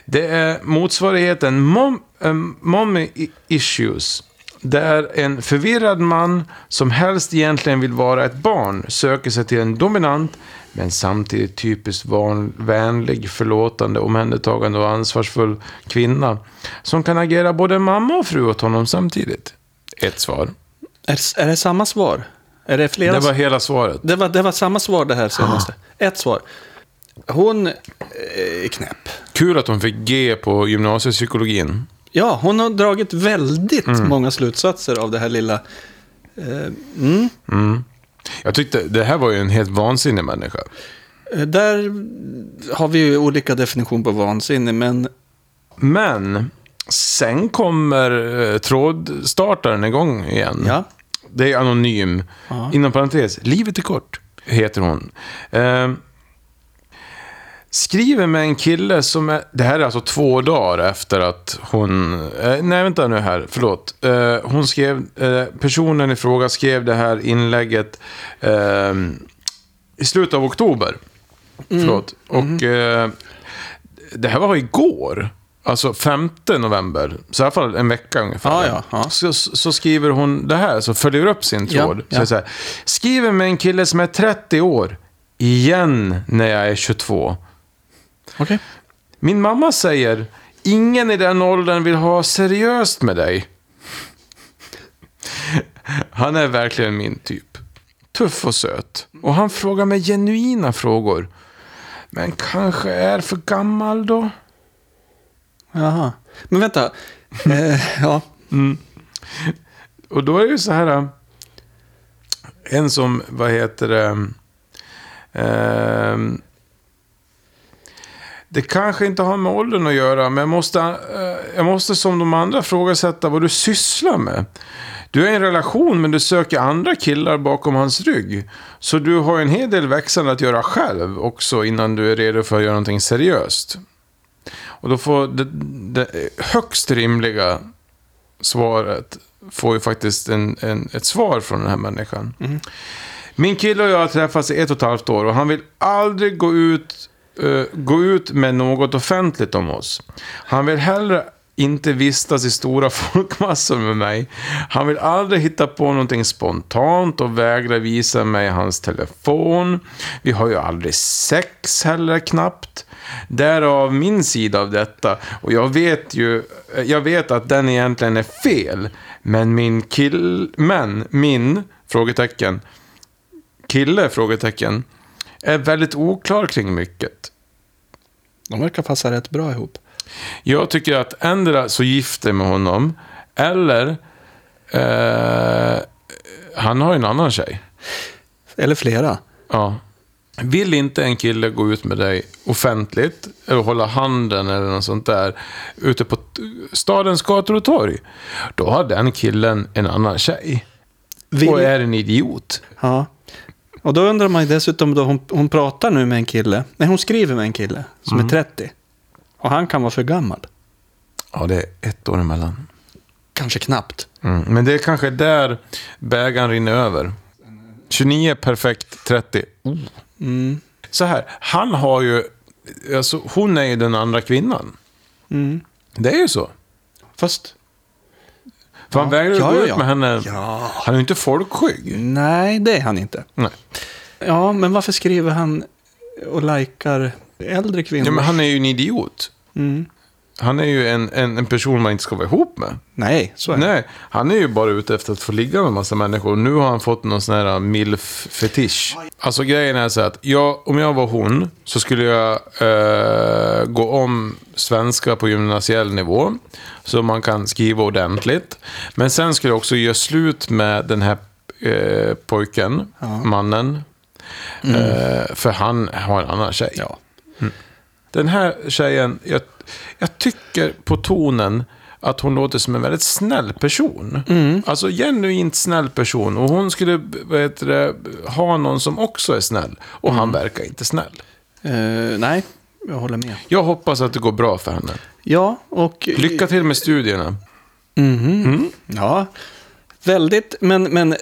Det är motsvarigheten mom, eh, mommy i- issues. Där en förvirrad man som helst egentligen vill vara ett barn söker sig till en dominant men samtidigt typiskt van, vänlig, förlåtande, omhändertagande och ansvarsfull kvinna som kan agera både mamma och fru åt honom samtidigt. Ett svar.
Är, är det samma svar? Är det flera?
Det var hela svaret.
Det var, det var samma svar det här senaste. Ett svar. Hon eh, är knäpp.
Kul att hon fick G på gymnasiepsykologin.
Ja, hon har dragit väldigt många slutsatser av det här lilla... Eh, mm.
Jag tyckte det här var ju en helt vansinnig människa.
Eh, Där har vi ju olika definition på vansinne, men
Men sen kommer eh, trådstartaren igång igen.
ja.
Det är anonym.
Ja.
Inom parentes, livet är kort, heter hon. Eh, skriver med en kille som är... Det här är alltså två dagar efter att hon... Eh, nej, vänta nu här. Förlåt. Eh, hon skrev... Eh, personen i fråga skrev det här inlägget eh, i slutet av oktober.
Mm.
Förlåt. Och eh, det här var igår. Alltså 5 november. Så i alla fall en vecka ungefär.
Ja, ja, ja.
Så, så skriver hon det här, så följer upp sin
Ja,
tråd.
ja.
Så så här, skriver med en kille som är 30 år. Igen när jag är 22.
Okej.
Min mamma säger, ingen i den åldern vill ha seriöst med dig. Han är verkligen min typ. Tuff och söt. Och han frågar mig genuina frågor. Men kanske är för gammal då?
Jaha. Men vänta. Eh, ja.
Och då är det ju så här. äh, En som, vad heter det? ehm, det kanske inte har med åldern att göra, men jag måste, eh, jag måste som de andra frågasätta vad du sysslar med. Du är i en relation, men du söker andra killar bakom hans rygg. Så du har en hel del växande att göra själv också innan du är redo för att göra någonting seriöst. Och då får det, det högst rimliga svaret får ju faktiskt en, en, ett svar från den här människan. Min kille och jag har träffats i ett och ett halvt år och han vill aldrig gå ut, eh, gå ut med något offentligt om oss. Han vill hellre inte vistas i stora folkmassor med mig. Han vill aldrig hitta på någonting spontant och vägrar visa mig hans telefon. Vi har ju aldrig sex heller knappt. Därav min sida av detta. Och jag vet ju, eh, jag vet att den egentligen är fel. Men min kill, men min, frågetecken, kille? Frågetecken. Är väldigt oklar kring mycket.
De verkar passa rätt bra ihop.
Jag tycker att ändra så gift dig med honom. Eller... Eh, han har ju en annan tjej.
Eller flera.
Ja. Vill inte en kille gå ut med dig offentligt, eller hålla handen eller något sånt där, ute på t- stadens gator och torg, då har den killen en annan tjej.
Vill-
Och är en idiot.
Ja. Och då undrar man ju dessutom, då hon, hon pratar nu med en kille. Nej, hon skriver med en kille som är 30. Och han kan vara för gammal.
Ja, det är ett år emellan.
Kanske knappt.
Mm. Men det är kanske där bägaren rinner över. 29 perfekt, 30.
Mm.
Så här, han har ju... Alltså, hon är ju den andra kvinnan.
Mm.
Det är ju så.
Fast,
För han
Ja,
vägrar
ja,
gå
ja,
ut
ja.
med henne.
Ja.
Han är ju inte folkskygg.
nej, det är han inte.
Nej.
Ja, men varför skriver han och likar äldre kvinnor?
Ja, men han är ju en idiot.
mm.
Han är ju en, en, en person man inte ska vara ihop med.
Nej, så är det.
Nej, han är ju bara ute efter att få ligga med en massa människor. Nu har han fått någon sån här milf-fetisch. Alltså grejen är så här att jag, om jag var hon så skulle jag eh, gå om svenska på gymnasiell nivå. Så man kan skriva ordentligt. Men sen skulle jag också göra slut med den här eh, pojken, mannen. Eh, för han har en annan tjej.
Mm. Ja.
Den här tjejen, jag, jag tycker på tonen att hon låter som en väldigt snäll person.
Mm.
Alltså genuint snäll person. Och hon skulle vad heter det, ha någon som också är snäll. Och han
Mm.
verkar inte snäll.
Eh, nej, jag håller med.
Jag hoppas att det går bra för henne.
Ja, och... Mhm.
Lycka Mm. till med studierna.
Ja, väldigt. Men, men eh,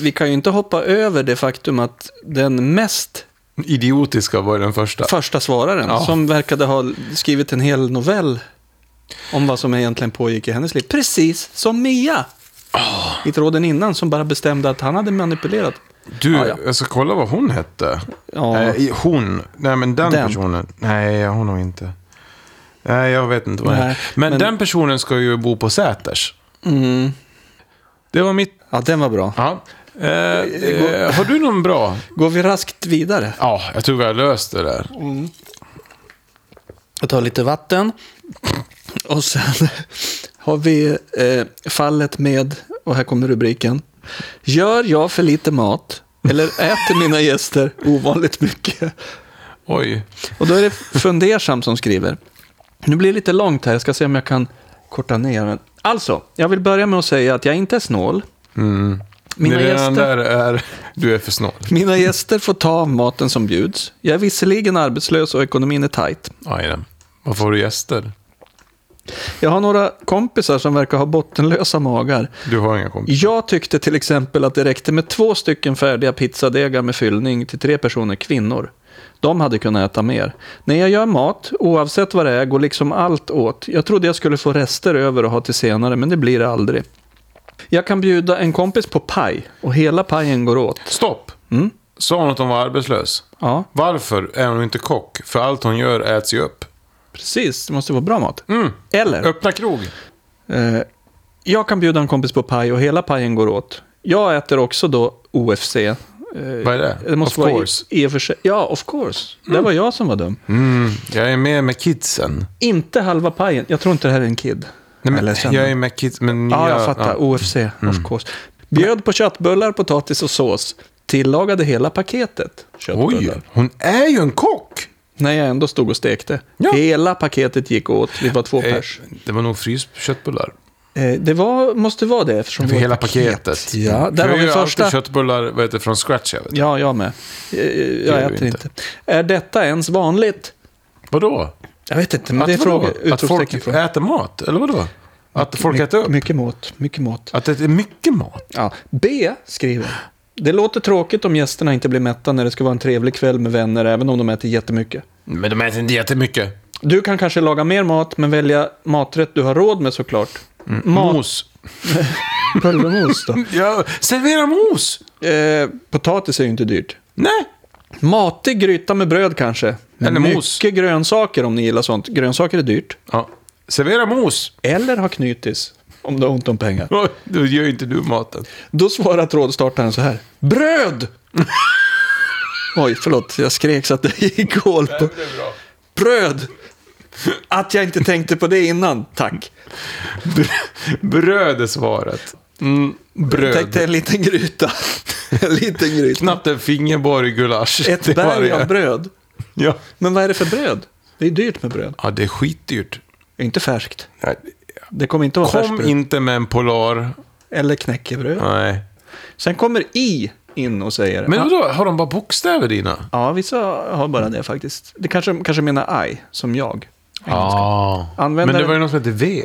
vi kan ju inte hoppa över det faktum att den mest
Idiotiska var ju den första.
första svararen,
Ja.
som verkade ha skrivit en hel novell om vad som egentligen pågick i hennes liv, precis som Mia.
Ah.
I tråden innan, som bara bestämde att han hade manipulerat.
Du,
Ja, ja.
jag ska kolla vad hon hette.
Ja.
Eh, hon. Nej, men den,
Den.
personen. Nej, hon har inte. Nej, jag vet inte vad det
Nej,
är. Men,
men-
den personen ska ju bo på Säters.
Mm.
Det var mitt...
Ja, den var bra.
Ja. Eh, eh, har du någon bra?
Går vi raskt vidare?
Ja, jag tror vi har löst det där.
Jag tar lite vatten. Och sen har vi eh, fallet med, och här kommer rubriken. Gör jag för lite mat? Eller äter mina gäster ovanligt mycket?
Oj.
Och då är det Fundersam som skriver. Nu blir det lite långt här, jag ska se om jag kan korta ner. den. Alltså, jag vill börja med att säga att jag inte är snål. Mina
det redan
gäster-
Mm. där är... Du är för snål.
Mina gäster får ta av maten som bjuds. Jag är visserligen arbetslös och ekonomin är tajt.
Aj då. Varför har du gäster?
Jag har några kompisar som verkar ha bottenlösa magar.
Du har inga kompisar.
Jag tyckte till exempel att det räckte med två stycken färdiga pizzadegar med fyllning till tre personer kvinnor. De hade kunnat äta mer. När jag gör mat, oavsett vad det är, går liksom allt åt. Jag trodde jag skulle få rester över och ha till senare, men det blir det aldrig. Jag kan bjuda en kompis på paj och hela pajen går åt. Mm,
Stopp! Sa hon att hon var arbetslös?
Ja,
Varför är hon inte kock? För allt hon gör äts ju upp.
precis. Det måste vara bra mat.
Mm.
Eller?
Öppna krog.
Eh, jag kan bjuda en kompis på paj och hela pajen går åt. Jag äter också då OFC. Eh,
Vad är det?
Det måste
of
vara
course.
I, i och för sig. Ja, of course. Det var jag som var dum.
Mm, jag är med med kidsen.
Inte halva pajen. Jag tror inte det här är en kid.
Nej, men,
Eller sen-
jag är med kidsen. Men
Ja,
nya-
jag fattar.
ja. Mm.
OFC, of course. Bjöd på köttbullar, potatis och sås. Tillagade hela paketet köttbullar.
Oj, hon är ju en kock!
När jag ändå stod och stekte.
Ja.
Hela paketet gick åt. Vi var två
Eh,
pers.
Det var nog fryst köttbullar.
Eh, det var, måste vara det eftersom det
För
var
hela
ett paket.
paketet.
Ja, där
För
har
jag
vi
gör alltid
första.
köttbullar vad heter, det, från scratch. Jag vet.
Ja, jag med. Eh, Jag
du
äter inte.
inte.
Är detta ens vanligt?
Vadå?
Jag vet inte, men
Att
det är
vadå?
frågor.
Att folk
Utropstecken. fråga.
äter mat? Eller vadå? Att folk äter upp?
Mycket mat, mycket mat.
Att det är mycket mat?
Ja. B skriver. Det låter tråkigt om gästerna inte blir mätta när det ska vara en trevlig kväll med vänner, även om de äter jättemycket.
Men de äter inte jättemycket.
Du kan kanske laga mer mat, men välja maträtt du har råd med såklart. Mat,
Mos.
pulvermos då.
Ja, servera mos!
Eh, potatis är ju inte dyrt.
Nej!
Matig gryta med bröd kanske. Men
Eller mos.
Mycket grönsaker om ni gillar sånt. Grönsaker är dyrt.
Ja. Servera mos!
Eller ha knytis, om du har ont om pengar.
Oj, Då gör ju inte du maten.
Då svarar trådstartaren så här. Bröd! Oj, förlåt. Jag skrek så att det gick hål på. Bröd! Att jag inte tänkte på det innan, tack.
Bröd är svaret. Mm, bröd.
Tänkte en liten gryta.
En liten gryta.
Knappt en fingerborg gulasch.
Ett
Det var
berg
det.
av bröd.
Ja.
Men vad är det för bröd? Det är dyrt med bröd.
ja, det är skitdyrt.
Inte färskt.
Nej,
Det kommer inte vara färskt
Kom
bröd.
inte med en Polar.
Eller knäckebröd.
Nej.
Sen kommer I in och säger...
Men
"Ah,
vadå, har de bara bokstäver dina?
Ja, vissa har bara det faktiskt. Det kanske, kanske menar I, som jag.
Ja. Men
Användaren-
det var ju något som hette V.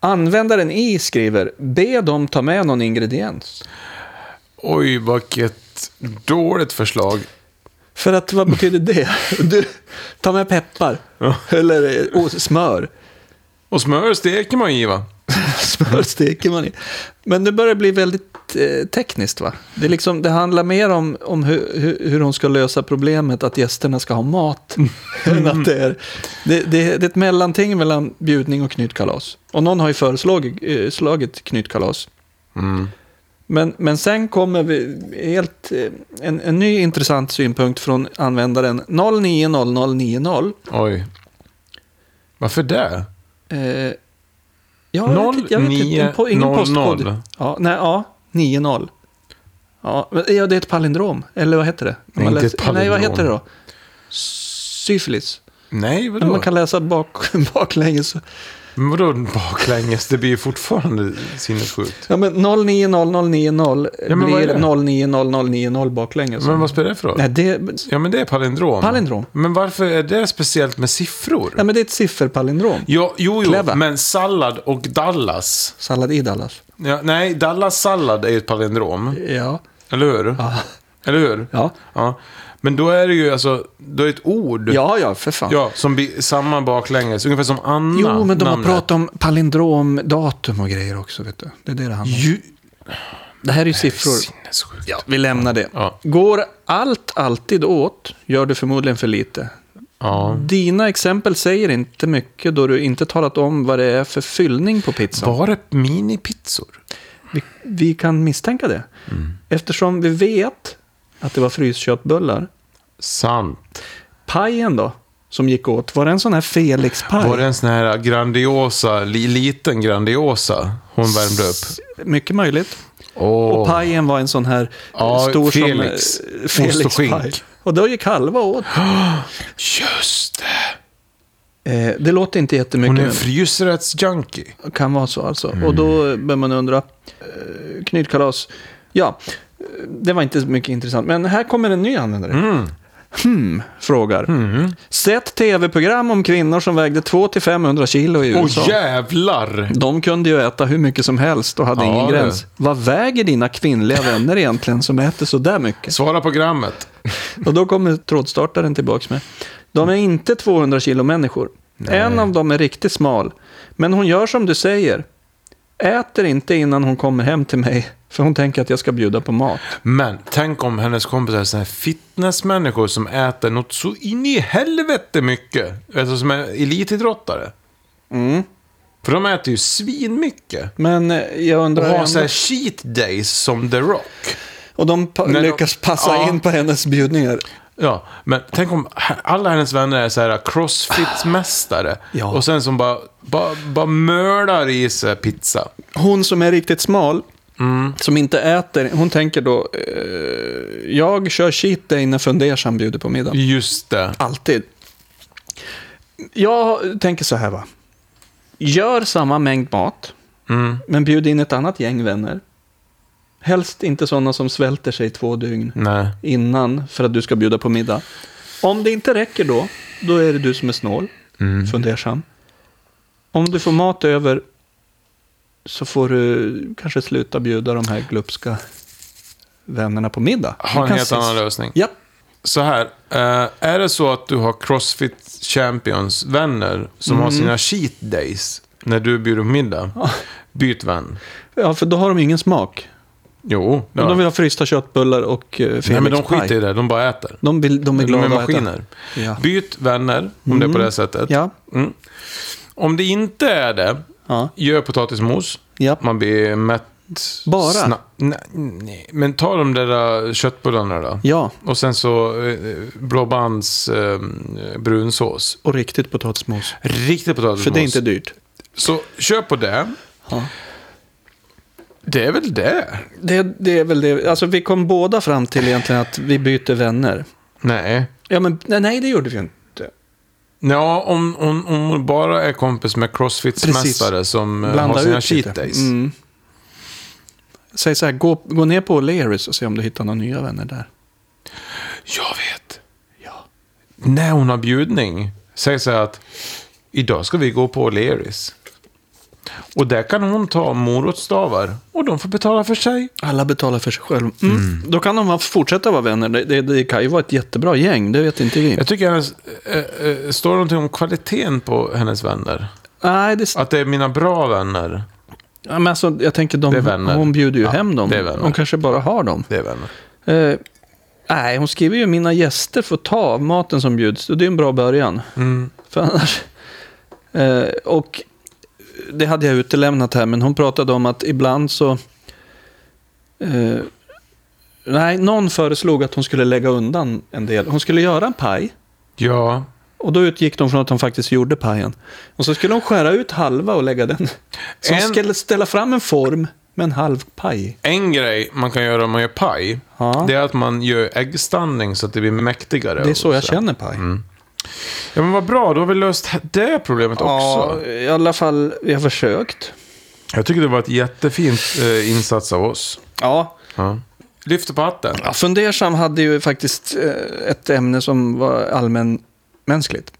Användaren I skriver, be dem ta med någon ingrediens.
Oj, vilket dåligt förslag.
För att vad betyder det? Du, ta med peppar. Eller eh, och smör.
Och smör steker man ju i va?
Smör steker man i. Men det börjar bli väldigt eh, tekniskt va? Det, är liksom, det handlar mer om, om hur, hur, hur de ska lösa problemet att gästerna ska ha mat. än att det, är, det, det, det är ett mellanting mellan bjudning och knytkalas. Och någon har ju föreslagit eh, slagit knytkalas.
Mm.
Men, men sen kommer vi helt, eh, en, en ny intressant synpunkt från användaren 090090.
Oj. Varför det?
Eh, ja, jag vet inte, jag vet inte. En po-
0900.
ingen postkod. Ja, nej, ja, 90. Ja, men, ja, det är ett palindrom. Eller vad heter det?
Nej,
Man
inte
läser-
ett palindrom.
Nej, vad heter det då? Syfilis.
Nej,
Men
vadå?
man kan läsa bak, baklänges.
Men vadå baklänges? Det blir ju fortfarande sinnessjukt.
Ja, men 090090
Ja, men vad är
blir
det?
090090 baklänges.
Men vad spelar det för roll?
Nej, det,
Ja, men det är palindrom.
Palindrom.
Men varför är det speciellt med siffror?
nej, men det är ett sifferpalindrom.
Ja, jo, jo,
Clever.
men sallad och Dallas.
Sallad i Dallas.
Ja, nej, Dallas sallad är ju ett palindrom.
Ja.
Eller hur?
Ja.
Eller hur?
Ja.
Men då är det ju alltså, då är det ett ord.
ja, ja, för fan.
Ja, som blir samma baklänges. Ungefär som Anna.
Jo, men de har
namnet.
pratat om palindromdatum och grejer också. Vet du. Det är det det handlar om.
Ju...
Det här är ju siffror.
Sinnessjukt. Ja.
Vi lämnar det.
Ja.
Går allt alltid åt, gör du förmodligen för lite.
ja.
Dina exempel säger inte mycket då du inte talat om vad det är för fyllning på pizzan.
Var det minipizzor?
Vi, vi kan misstänka det.
Mm.
Eftersom vi vet att det var frysköttbullar.
Sant.
Pajen då, som gick åt, var det en sån här Felix-paj?
Var det en sån här grandiosa, li, liten grandiosa hon värmde upp?
Mycket möjligt.
Åh.
Och pajen var en sån här eh,
Ja,
stor
Felix.
som...
Ost och
Felix-paj.
skink.
Och då gick halva åt.
Just det!
Eh, det låter inte jättemycket.
Hon är
men-
en frysrättsjunkie.
kan vara så alltså. Och då
Mm.
bör man undra. eh, Knytkalas. Ja, eh, det var inte så mycket intressant. Men här kommer en ny användare.
Mm.
Hmm, frågar. Sett tv-program om kvinnor som vägde 200-500 kilo i
Åh
USA.
jävlar!
De kunde ju äta hur mycket som helst och hade
Ja,
ingen
det.
gräns. Vad väger dina kvinnliga vänner egentligen som äter så där mycket?
Svara programmet.
Och då kommer trådstartaren tillbaks med. De är inte 200 kilo människor. En av dem är riktigt smal. Men hon gör som du säger. Äter inte innan hon kommer hem till mig. För hon tänker att jag ska bjuda på mat.
Men tänk om hennes kompisar är såna här fitnessmänniskor som äter något så in i helvete mycket. Alltså som är elitidrottare. För de äter ju svinmycket.
Men eh, jag
Och
undrar...
har
ändå-
så här cheat days som The Rock.
och de pa-
Nej, de-
lyckas passa
Ja.
in på hennes bjudningar.
Ja, men tänk om he- alla hennes vänner är så här crossfit-mästare.
Ja.
Och sen som bara, bara, bara mördar i sig pizza.
Hon som är riktigt smal. Som inte äter. Hon tänker då... Eh, jag kör cheat day när fundersam bjuder på middag.
Just det.
Alltid. Jag tänker så här va. Gör samma mängd mat,
Mm.
men bjud in ett annat gäng vänner. Helst inte sådana som svälter sig två dygn
Nej.
innan för att du ska bjuda på middag. Om det inte räcker då, då är det du som är snål,
Mm.
fundersam. Om du får mat över så får du kanske sluta bjuda de här glupska vännerna på middag.
Har
Vi
en
kan
helt
ses.
annan lösning.
Ja,
Så här, eh, är det så att du har Crossfit Champions-vänner som
Mm.
har sina cheat days när du bjuder på middag, byt vän.
ja, för då har de ingen smak.
Jo,
Om
det har
de
jag.
vill ha frysta köttbullar och eh,
Nej, men
Felix
de skiter i
paj.
det, de bara äter.
De, vill, de är
De
glada
är
att äta.
maskiner.
Ja.
Byt vänner, om det är på det sättet.
Ja.
Mm. Om det inte är det,
Ja.
gör potatismos.
Ja.
Man blir mätt.
Bara?
Nej, nej, men ta de där eh, köttbullarna då.
ja,
Och sen så eh, blåbands eh, brunsås.
och riktigt potatismos.
Riktigt potatismos.
För det är inte dyrt.
Så köp på det.
Ja.
Det är väl det?
Det, det är väl det. Alltså, vi kom båda fram till egentligen att vi byter vänner.
Nej.
Ja, men nej, nej det gjorde vi ju inte.
Ja, om, om, om hon bara är kompis med crossfit-mästare som eh, har sina cheat
lite.
days.
Mm. Säg så här, gå, gå ner på O'Learys och se om du hittar några nya vänner där.
Jag vet.
Ja.
När hon har bjudning, säg så här att idag ska vi gå på O'Learys. Och där kan hon ta morotsstavar och de får betala för sig.
Alla betalar för sig själv. Mm. Då kan de ha- fortsätta vara vänner. Det, det, det kan ju vara ett jättebra gäng, det vet inte vi.
Jag tycker hennes, eh, eh, står det någonting om kvaliteten på hennes vänner?
Nej, det,
Att det är mina bra vänner.
ja, men alltså, jag tänker de,
Det är vänner.
hon bjuder ju
Ja,
hem dem.
det är vänner.
Hon kanske bara har dem.
Det är vänner.
Eh, nej, hon skriver ju mina gäster får ta av maten som bjuds. Och det är en bra början.
Mm.
För annars... Eh, och det hade jag utelämnat här, men hon pratade om att ibland så... Eh, nej, någon föreslog att hon skulle lägga undan en del. Hon skulle göra en paj.
Ja.
Och då utgick de från att hon faktiskt gjorde pajen. Och så skulle hon skära ut halva och lägga den. Så hon
En-
skulle ställa fram en form med en halv paj.
En grej man kan göra om man gör paj,
Ja.
det är att man gör äggstanning så att det blir mäktigare.
Det är så jag
Och
känner paj.
Mm. Ja, men vad bra, då har vi löst det problemet också.
Ja, i alla fall, vi har försökt.
Jag tycker det var ett jättefint eh, insats av oss.
Ja.
Ja. Lyfter på hatten.
ja, Fundersam hade ju faktiskt eh, ett ämne som var allmänmänskligt.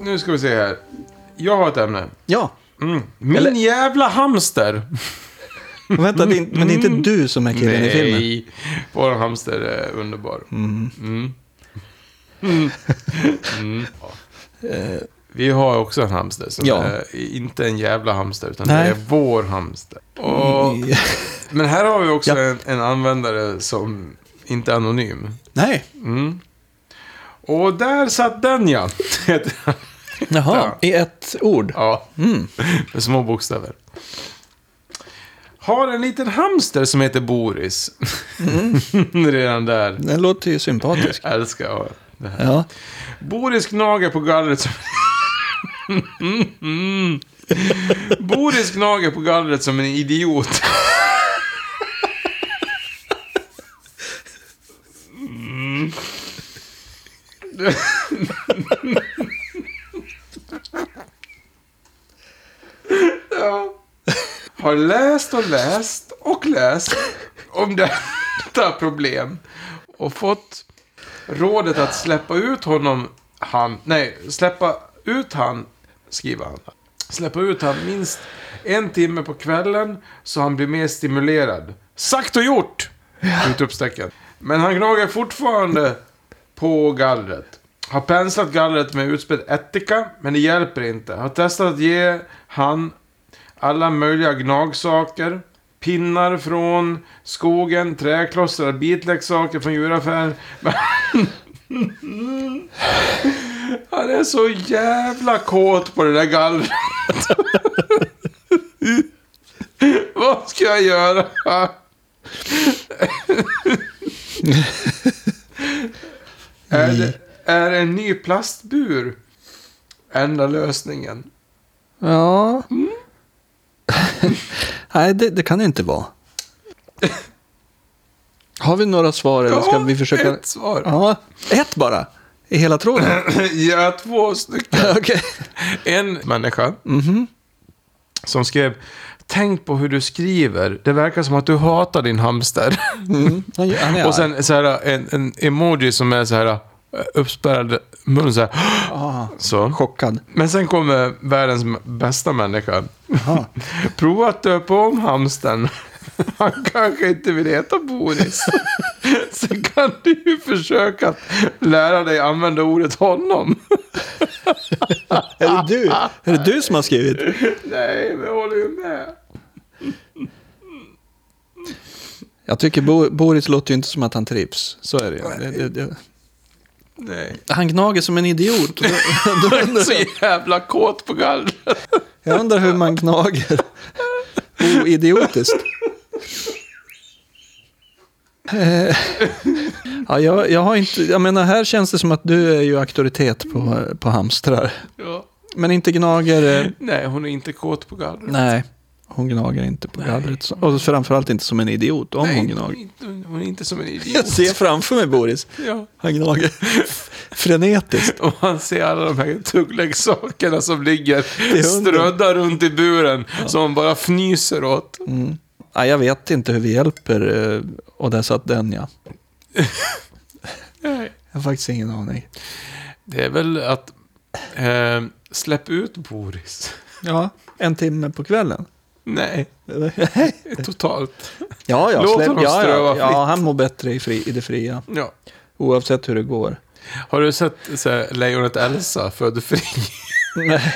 Nu ska vi se här. Jag har ett ämne.
Ja,
Mm. Min
Eller-
jävla hamster.
vänta, det är, men det är inte du som är killen i filmen.
Nej, vår hamster är underbar. Mm. Mm. Mm. Eh, Vi har också en hamster som
Ja.
är inte en jävla hamster, utan
Nej.
det är vår hamster. Och, men här har vi också
Mm. Ja.
en, en användare som inte är anonym.
Nej,
Mm. Och där satt den ja.
jaha, i ett ord.
ja.
Mm.
Med små bokstäver. Har en liten hamster som heter Boris.
Mm.
Redan där.
Den låter ju sympatisk.
Älskar jag det här.
Ja,
Boris gnager på gallret som... Mm. Boris gnager på gallret som en idiot. Mm. ja. Har läst och läst och läst om detta problem och fått rådet att släppa ut honom, han, nej, släppa ut han, skriver han. Släppa ut han minst en timme på kvällen så han blir mer stimulerad. Sagt och gjort! Utropstecken. Men han gnager fortfarande på gallret. Har penslat gallret med utspädd ättika, men det hjälper inte. Har testat att ge han alla möjliga gnagsaker. Pinnar från skogen, träklossar, bitleksaker från djuraffären. Men- Han är så jävla kåt på det där gallret. Vad ska jag göra? är, det, är en ny plastbur enda lösningen?
ja.
Mm.
Nej, det, det kan det inte vara. Har vi några svar eller ska
Ja,
vi försöka?
ett svar.
Ja, ett bara. I hela tråden?
Ja, två stycken.
Okej.
En människa
Mhm.
som skrev Tänk på hur du skriver. Det verkar som att du hatar din hamster.
Han, han är
Och
arg.
sen så här, en, en emoji som är så här eh, uppspärrad mun så här.
ah,
Så.
chockad.
Men sen kommer världens m- bästa människa.
Jaha.
Prova att döpa om hamstern. Han kanske inte vill heta Boris. Så kan du ju försöka att lära dig använda ordet honom.
Är det du? Är det du som har skrivit?
Nej, men jag håller ju med.
Jag tycker Bo, Boris låter ju inte som att han trivs. Så är det ju. Det, det, det.
Nej.
Han gnager som en idiot. Då, då
Jag är
undrar,
så jävla kåt på gallret.
jag undrar hur man gnager oidiotiskt. Eh, Ja, jag, jag, har inte, jag menar, här känns det som att du är ju auktoritet på, på hamstrar.
Ja.
Men inte gnagare.
Nej, hon är inte kåt på gallret.
Nej, hon gnager inte på
Nej.
gallret. så- Och framförallt inte som en idiot om
Nej,
hon
hon, är
gnager.
inte, hon är inte som en
Jag
idiot.
ser framför mig Boris.
Ja.
Han gnager frenetiskt.
Och han ser alla de här tuggleksakerna som ligger
hunden.
strödda runt i buren. Som hon bara fnyser åt.
Mm. Nej, jag vet inte hur vi hjälper. eh, Och där satt den ja.
Nej.
Jag har faktiskt ingen aning.
Det är väl att... Eh, släpp ut Boris.
Ja, en timme på kvällen.
Nej, totalt.
ja, ja,
Låt
släpp,
honom
ja,
ströva
ja, ja,
fritt.
han mår bättre i, fri, i det fria.
Ja.
Oavsett hur det går.
Har du sett så här, lejonet Elsa född fri?
Nej.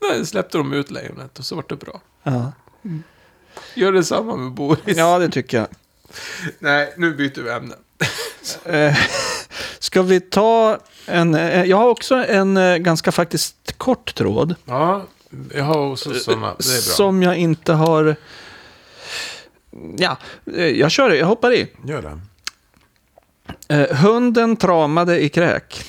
Nej, släppte de ut lejonet och så vart det bra.
Ja.
Gör detsamma med Boris.
ja, det tycker jag.
Nej, nu byter vi ämne.
Eh, Ska vi ta en... eh, Jag har också en eh, ganska faktiskt kort tråd.
Ja, jag har också sådana. Det är bra.
Som jag inte har... Ja, eh, jag kör det. Jag hoppar i.
Gör det.
Eh, hunden tramade i kräk.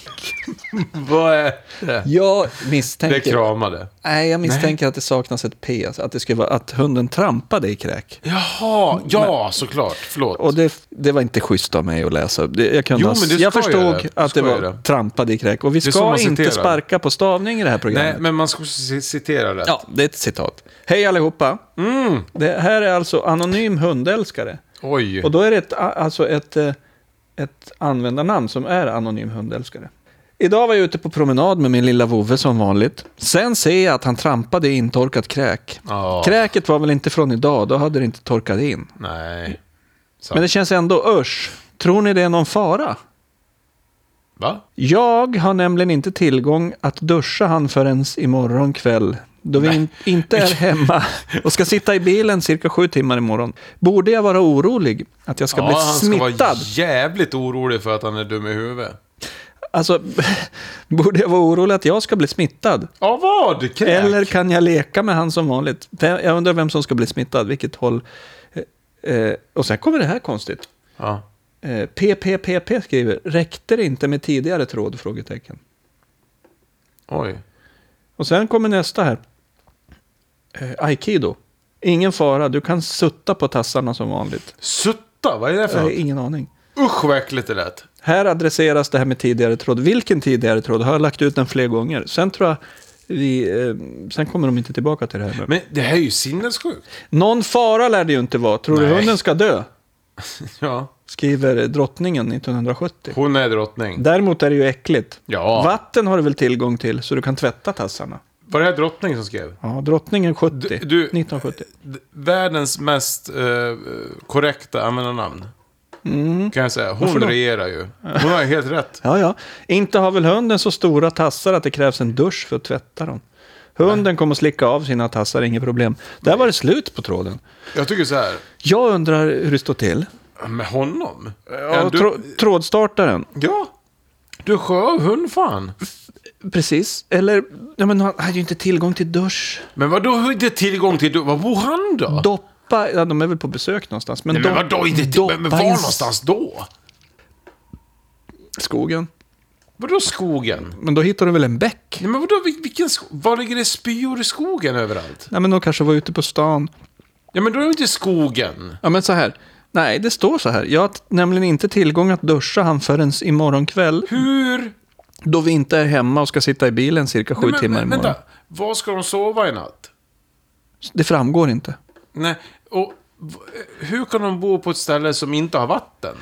Vad är det?
Jag
Det
misstänker...
kramade.
Nej, jag misstänker att det saknas ett P. Att det skulle vara att hunden trampade i kräk.
Jaha, ja såklart. Förlåt.
Och det, det var inte schysst av mig att läsa. Det, jag kunde
Jo,
ha,
men det
jag
ska ju
förstod
det. Det
att det
ska
var
ju det.
trampade i kräk. Och vi
Det är som
ska
man
inte
citerar.
sparka på stavning i det här programmet.
Nej, men man ska också c- citera det.
Ja, det är ett citat. Hej allihopa.
Mm.
Det här är alltså anonym hundälskare.
Oj.
Och då är det ett, alltså ett, eh, ett användarnamn som är anonym hundälskare. Idag var jag ute på promenad med min lilla vovve som vanligt. Sen ser jag att han trampade i intorkat kräk.
Ja.
Kräket var väl inte från idag, då hade det inte torkat in.
Nej. Sant.
Men det känns ändå usch. Tror ni det är någon fara?
Va?
Jag har nämligen inte tillgång att duscha han förrän imorgon kväll. Då vi in, inte är hemma och ska sitta i bilen cirka sju timmar imorgon. Borde jag vara orolig att jag ska bli
han ska
smittad?
vara jävligt orolig för att han är dum i huvudet.
Alltså, borde jag vara orolig att jag ska bli smittad?
Av vad? Kräk?
Eller kan jag leka med han som vanligt? Vem- Jag undrar vem som ska bli smittad, vilket håll. Eh, eh, Och sen kommer det här konstigt.
Ja.
Eh, PPPP skriver, räckte det inte med tidigare tråd? Frågetecken.
Oj.
Och sen kommer nästa här. Eh, Aikido. Ingen fara, du kan sutta på tassarna som vanligt.
Sutta? Vad är det för
Jag har
något?
ingen aning.
Usch vad äckligt det lät.
Här adresseras det här med tidigare tråd. Vilken tidigare tråd? Har jag lagt ut den fler gånger? Sen tror jag vi... Eh, sen kommer de inte tillbaka till det här.
Men det här är ju sinnessjukt.
Någon fara lär det ju inte vara. Tror du
Nej.
hunden ska dö?
Ja.
Skriver drottningen 1970.
Hon är drottning.
Däremot är det ju äckligt.
Ja.
Vatten har du väl tillgång till så du kan tvätta tassarna?
Var det här drottning som skrev?
Ja, drottningen 70.
Du- du-
1970.
D- Världens mest eh, korrekta användarnamn.
Mm.
Kan jag säga. Hon
Varför då?
regerar ju. Hon har ju helt rätt.
Ja, ja. Inte har väl hunden så stora tassar att det krävs en dusch för att tvätta dem. Hunden kommer att slicka av sina tassar, inget problem. Där var det slut på tråden.
Jag tycker så här.
Jag undrar hur det står till.
Med honom?
Ja,
Ja,
trå-
du,
trådstartaren.
ja. du är sjövhund fan.
Precis. Eller, ja, men han hade ju inte tillgång till dusch.
Men vadå har inte tillgång till... Var bor han då?
Doppa, ja, de är väl på besök någonstans. Men,
Nej, men vadå inte till... Men men var
i s-
någonstans då?
Skogen.
Vadå skogen?
Men då hittar du väl en bäck?
Nej, men vadå, vil- vilken sko- Var ligger det spyor i skogen överallt?
Nej, men de kanske var ute på stan.
Ja, men då är det inte i skogen.
Ja, men så här. Nej, det står så här. Jag har t- nämligen inte tillgång att duscha han förrän imorgon kväll.
Hur?
Då vi inte är hemma och ska sitta i bilen cirka sju
men,
timmar
men,
imorgon.
Vänta, var ska de sova i natt?
Det framgår inte.
Nej, och v- hur kan de bo på ett ställe som inte har vatten?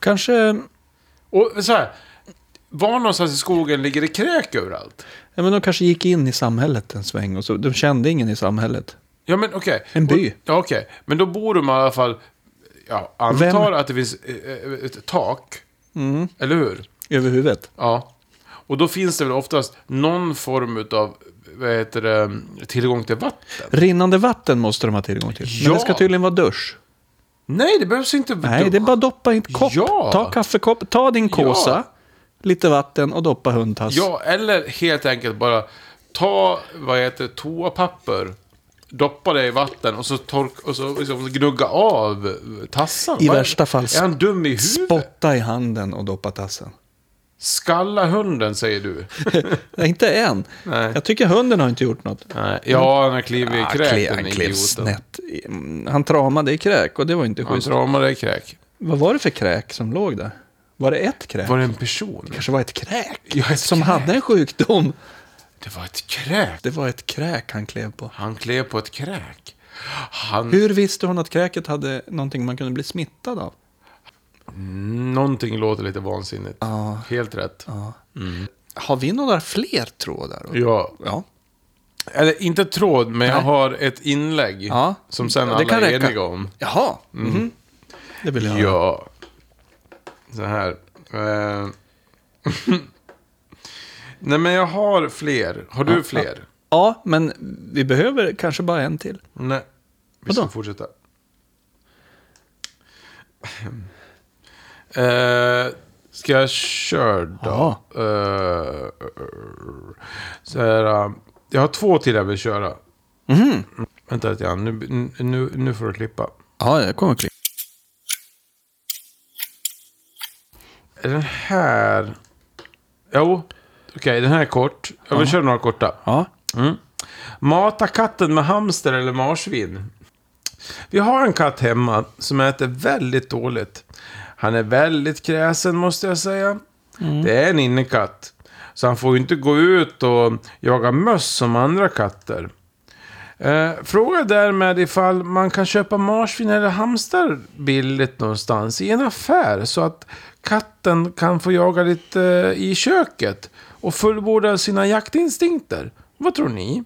Kanske...
Och så här, var någonstans i skogen ligger det kräk överallt?
Ja, men de kanske gick in i samhället en sväng och så, de kände ingen i samhället.
Ja, men okej.
En by.
Och- Ja, okej. Men då bor de i alla fall... Ja, antar att det finns eh, eh, ett tak. Eller hur?
Över huvudet.
Ja. Och då finns det väl oftast någon form av vad heter det, tillgång till vatten?
Rinnande vatten måste de ha tillgång till. Men
Ja.
det ska tydligen vara dusch.
Nej, det behövs inte.
Nej, det är bara att doppa i en kopp.
Ja.
Ta kaffekopp, ta din kåsa,
Ja.
lite vatten och doppa hundtass.
Ja, eller helt enkelt bara ta vad heter det, toapapper, doppa det i vatten och så, tork, och så liksom gnugga av tassarna.
I
Vad är-
värsta fall
Är han dum i huvudet?
Spotta i handen och doppa tassen.
Skalla hunden, säger du.
Nej, inte än.
Nej.
Jag tycker hunden har inte gjort något.
Nej. Ja, han har klivit i
Ah,
kräk,
kle-
den
han klev
idioten.
snett. Mm, Han tramade i kräk och det var inte
Han
schysst.
kramade i kräk.
Vad var det för kräk som låg där? Var det ett kräk?
Var det en person?
kanske var ett kräk
Ja, ett
som
kräk.
hade en sjukdom.
Det var ett kräk.
Det var ett kräk han klev på.
Han klev på ett kräk. Han...
Hur visste hon att kräket hade någonting man kunde bli smittad av?
Någonting låter lite vansinnigt.
Ja.
Helt rätt.
Har vi några fler trådar?
Ja.
Ja.
Eller inte tråd, men jag har ett inlägg.
Ja.
Som
Ja,
sen
det
alla
kan
är
räcka.
eniga om. Mm.
Jaha. Mhm. Det vill jag höra.
Ja. Så här. Eh. Nej, men jag har fler. Har du fler?
Ja, men vi behöver kanske bara en till.
Nej. Vi ska
Vadå?
fortsätta. Eh, ska jag köra då?
Ja.
Eh, så här, eh, jag har två till jag vill köra.
Mhm.
Vänta lite grann, nu, nu, nu får du klippa.
Ja, jag kommer klippa.
Är Den här... Jo, okej, den här är kort. Jag vill köra några korta.
Ja.
Mm. Mata katten med hamster eller marsvin. Vi har en katt hemma som äter väldigt dåligt. Han är väldigt kräsen måste jag säga. Det är en innekatt. Så han får ju inte gå ut och jaga möss som andra katter. Eh, fråga därmed ifall man kan köpa marsvin eller hamster billigt någonstans i en affär så att katten kan få jaga lite eh, i köket och fullborda sina jaktinstinkter. Vad tror ni?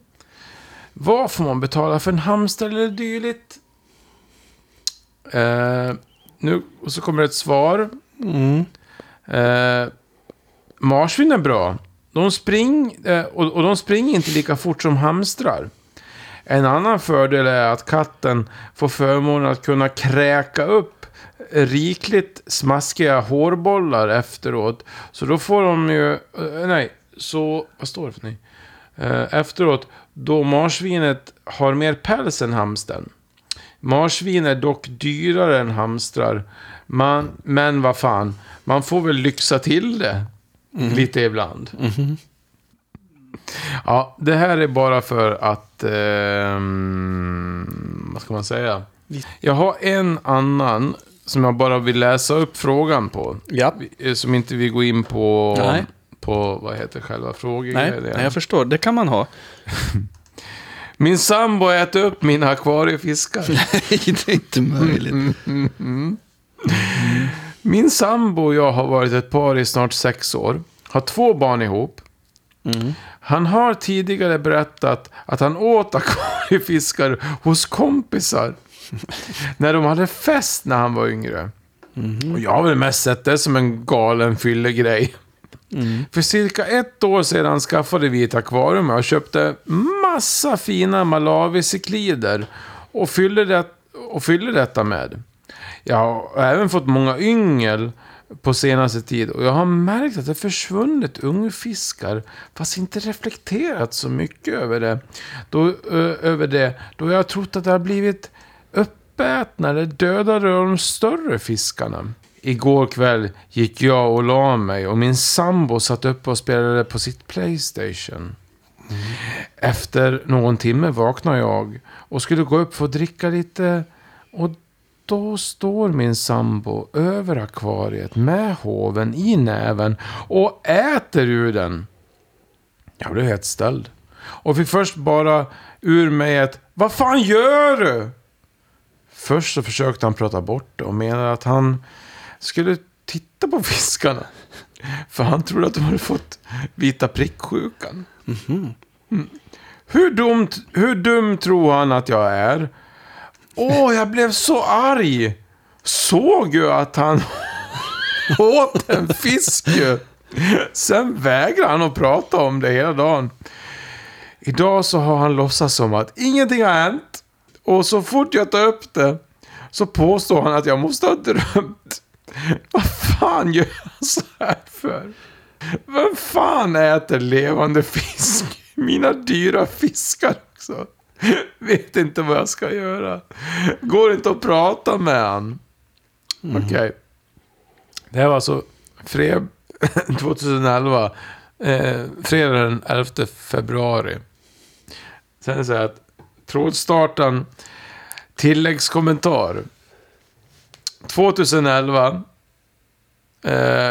Vad får man betala för en hamster eller dylikt? Eh, nu, och så kommer ett svar. Eh, marsvin är bra. De, spring, eh, och, och de springer inte lika fort som hamstrar. En annan fördel är att katten får förmånen att kunna kräka upp rikligt smaskiga hårbollar efteråt. Så då får de ju... eh, Nej, så... Vad står det för nej? Eh, Efteråt, då marsvinet har mer päls än hamstern. Marsvin är dock dyrare än hamstrar. Man, men vad fan, man får väl lyxa till det
Mhm.
lite ibland. Ja, det här är bara för att... ehm, vad ska man säga? Jag har en annan som jag bara vill läsa upp frågan på.
Ja.
Eh, Som inte vi går in på...
Nej.
På, vad heter själva frågan?
Nej, nej, jag förstår. Det kan man ha.
Min sambo äter upp mina akvariefiskar.
Nej, det är inte möjligt.
Mm. Min sambo och jag har varit ett par i snart sex år. Har två barn ihop. Han har tidigare berättat att han åt akvariefiskar hos kompisar. när de hade fest när han var yngre. Och jag har väl mest sett det som en galen fyllegrej. För cirka ett år sedan skaffade vi ett akvarium och köpte massa fina malawisiklider och fyllde, det, och fyllde detta med. Jag har även fått många yngel på senaste tid och jag har märkt att det försvunnit ungfiskar fast inte reflekterat så mycket över det. Då, ö, över det, då jag har trott att det har blivit uppätnare dödade de större fiskarna. Igår kväll gick jag och la mig och min sambo satt uppe och spelade på sitt Playstation. Efter någon timme vaknade jag och skulle gå upp för att dricka lite. Och då står min sambo över akvariet med hoven i näven och äter ur den. Jag blev helt ställd. Och fick först bara ur mig ett Vad fan gör du? Först så försökte han prata bort det och menade att han skulle titta på fiskarna. För han trodde att de hade fått vita pricksjukan. Mm. Hur, dumt, hur dum tror han att jag är? Åh, jag blev så arg! Såg ju att han åt en fisk ju. Sen vägrar han att prata om det hela dagen. Idag så har han låtsats som att ingenting har hänt. Och så fort jag tar upp det så påstår han att jag måste ha drömt. Vad fan gör han så här för? Vem fan äter levande fisk? Mina dyra fiskar också. Vet inte vad jag ska göra. Går inte att prata med han. Okej. Det här var alltså fre- 2011. Eh, fredag den 11 februari. Sen är det så här att trådstarten tilläggskommentar. 2011. Eh,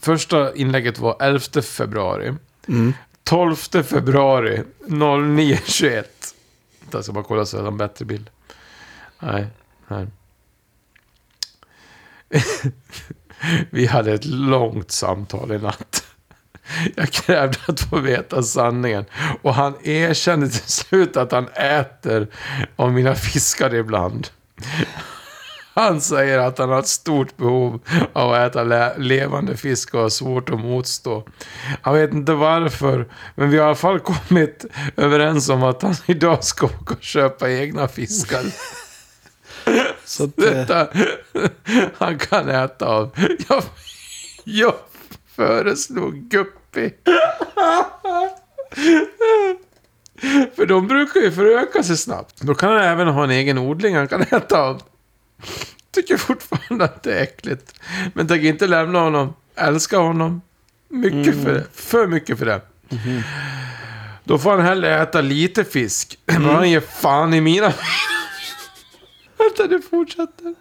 första inlägget var 11 februari.
Mm.
12 februari 09.21. Jag ska bara kolla så jag har en bättre bild. Nej, här. Vi hade ett långt samtal i natt. Jag krävde att få veta sanningen. Och han erkände till slut att han äter av mina fiskar ibland. Han säger att han har ett stort behov av att äta le- levande fisk och har svårt att motstå. Han vet inte varför, men vi har i alla fall kommit överens om att han idag ska åka och köpa egna fiskar.
Så att, eh,
Detta han kan äta av. Jag, jag föreslog guppy. För de brukar ju föröka sig snabbt. Då kan han även ha en egen odling han kan äta av. Tycker fortfarande att det är äckligt. Men tänker inte lämna honom. Älskar honom. Mycket för det. För mycket för det. Då får han hellre äta lite fisk. Men han ger fan i mina Vänta, det fortsätter.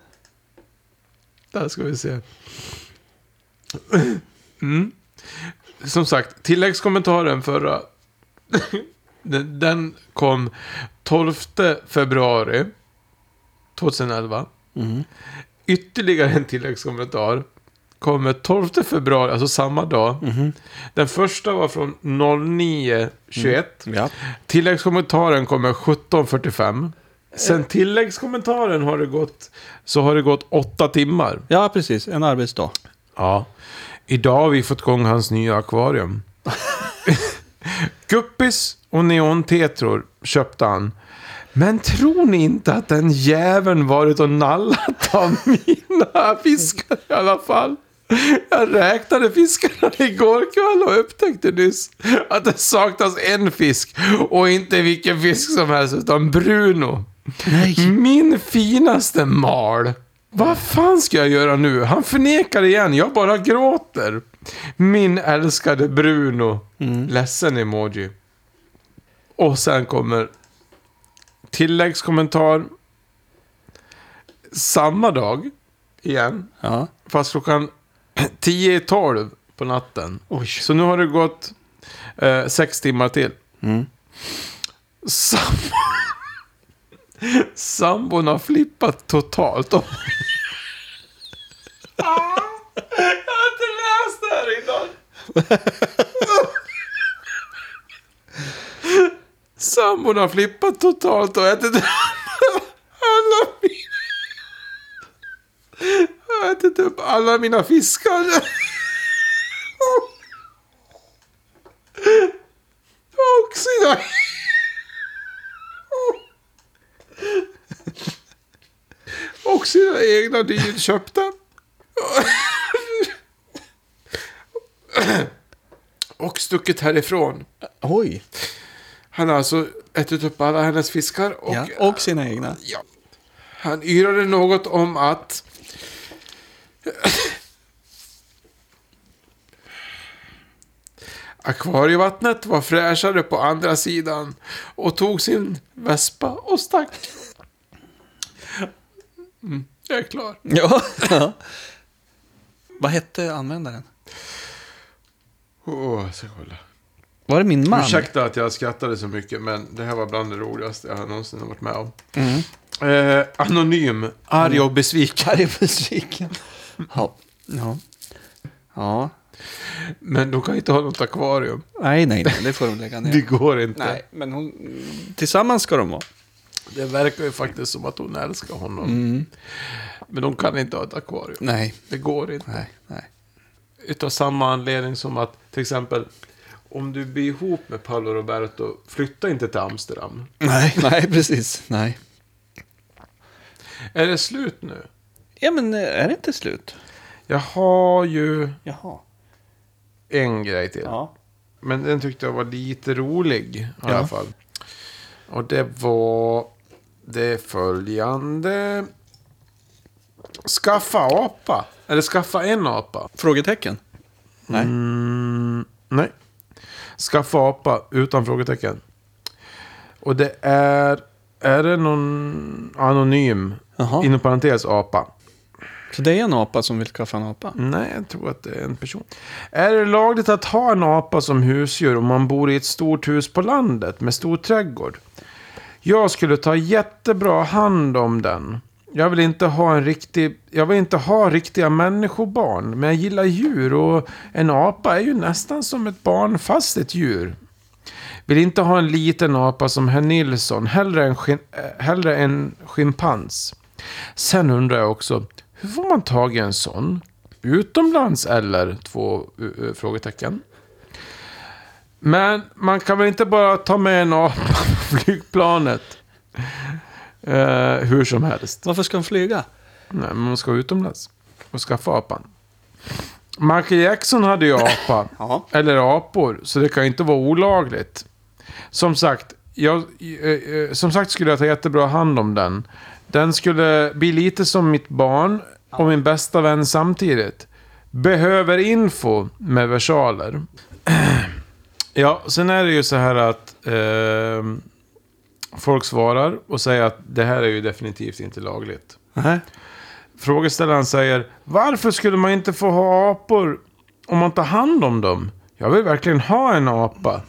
Där ska vi se. Mm. Som sagt, tilläggskommentaren förra. Den den kom 12 februari 2011.
mm.
Ytterligare en tilläggskommentar. Kommer 12 februari, alltså samma dag. Den första var från 09.21.
Ja.
Tilläggskommentaren kommer 17.45. Sen tilläggskommentaren har det gått, så har det gått åtta timmar.
ja, precis. En arbetsdag.
Ja. Idag har vi fått igång hans nya akvarium. Guppis och neontetror köpte han. Men tror ni inte att den jäveln varit och nallat av mina fiskar i alla fall? Jag räknade fiskarna igår kväll och upptäckte nyss att det saknas en fisk. Och inte vilken fisk som helst, utan Bruno. Min finaste mal. Vad fan ska jag göra nu? Han förnekar igen. Jag bara gråter. Min älskade Bruno. Ledsen emoji. Och sen kommer tilläggskommentar. Samma dag. Igen.
Ja.
Fast klockan 10 i 12 på natten. Så nu har det gått eh, sex timmar till.
Mm.
Sam Sambon har flippat totalt. Och... Jag har inte läst det här innan. Sambon har flippat totalt och ätit alla mina... Jag har ätit upp alla mina fiskar. Och sina... Och sina egna dyrköpta. Och stuckit härifrån.
Oj.
Han har alltså ätit upp alla hennes fiskar och
Ja. Och sina egna.
Ja. Han yrade något om att... Akvarievattnet var fräschare på andra sidan och tog sin vespa och stack. Mm, jag är klar.
Ja. ja. Vad hette användaren?
Åh, jag ska kolla.
Var det min man?
Ursäkta att jag skrattade så mycket, men det här var bland det roligaste jag någonsin har varit med om.
Mm.
Eh, anonym, arg och besviken.
Arg och besviken. Ja. ja. Ja.
Men de kan ju inte ha något akvarium.
Nej, nej, nej. Det får de lägga
Det
ner.
går inte.
Nej, men hon... Tillsammans ska de vara.
Det verkar ju faktiskt som att hon älskar honom. Men de kan inte ha ett akvarium.
Mm. Nej.
Det går inte.
Nej, nej.
Utav samma anledning som att till exempel om du blir ihop med Paolo Roberto, flytta inte till Amsterdam.
Nej, nej, precis. Nej.
Är det slut nu?
Ja, men eh, är det inte slut?
Jag har ju
Jaha.
en grej till.
Ja.
Men den tyckte jag var lite rolig i alla
Ja.
fall. Och det var det följande. Skaffa apa. Eller skaffa en apa.
Frågetecken? Nej.
Mm, nej. Skaffa apa utan frågetecken. Och det är... Är det någon anonym,
Jaha.
inom parentes, apa?
Så det är en apa som vill skaffa en apa?
Nej, jag tror att det är en person. Är det lagligt att ha en apa som husdjur om man bor i ett stort hus på landet med stor trädgård? Jag skulle ta jättebra hand om den. Jag vill inte ha en riktig... Jag vill inte ha riktiga människobarn, men jag gillar djur och en apa är ju nästan som ett barn fast ett djur. Vill inte ha en liten apa som herr Nilsson, hellre en, skin- eh, hellre en schimpans. Sen undrar jag också, hur får man tag i en sån? Utomlands eller? Två eh, eh, frågetecken. Men man kan väl inte bara ta med en apa på flygplanet? Eh, hur som helst.
Varför ska de flyga?
Nej, men man ska utomlands och skaffa apan. Michael Jackson hade ju apa.
Ja.
Eller apor, så det kan ju inte vara olagligt. Som sagt, jag, eh, eh, som sagt skulle jag ta jättebra hand om den. Den skulle bli lite som mitt barn och min bästa vän samtidigt. Behöver info med versaler. Ja, sen är det ju så här att eh, folk svarar och säger att det här är ju definitivt inte lagligt.
Nej.
Frågeställaren säger Varför skulle man inte få ha apor om man tar hand om dem? Jag vill verkligen ha en apa.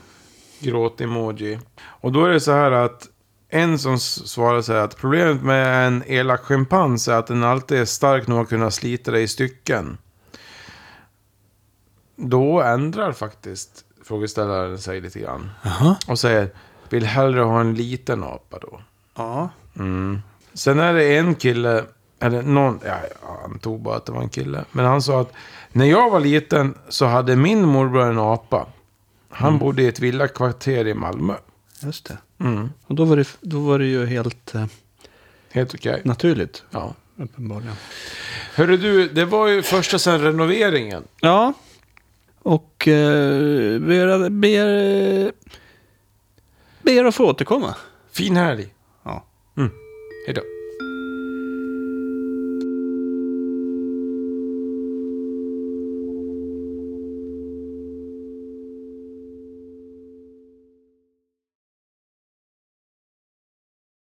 Gråt-emoji. Och då är det så här att en som s- svarar så här att problemet med en elak schimpans är att den alltid är stark nog att kunna slita dig i stycken. Då ändrar faktiskt frågeställaren sig lite grann.
Jaha.
Och säger Vill hellre ha en liten apa då.
Ja.
Sen är det en kille, eller någon, ja, jag antog bara att det var en kille. Men han sa att när jag var liten så hade min morbror en apa. Han bodde i ett villakvarter i Malmö.
Just det. Och då var det, då var det ju helt eh,
Helt okej.
naturligt.
Ja.
Uppenbarligen.
Hörru du, det var ju första sen renoveringen.
Ja. Och eh, ber, ber, eh, ber att få återkomma.
Fin helg.
Ja.
Hejdå.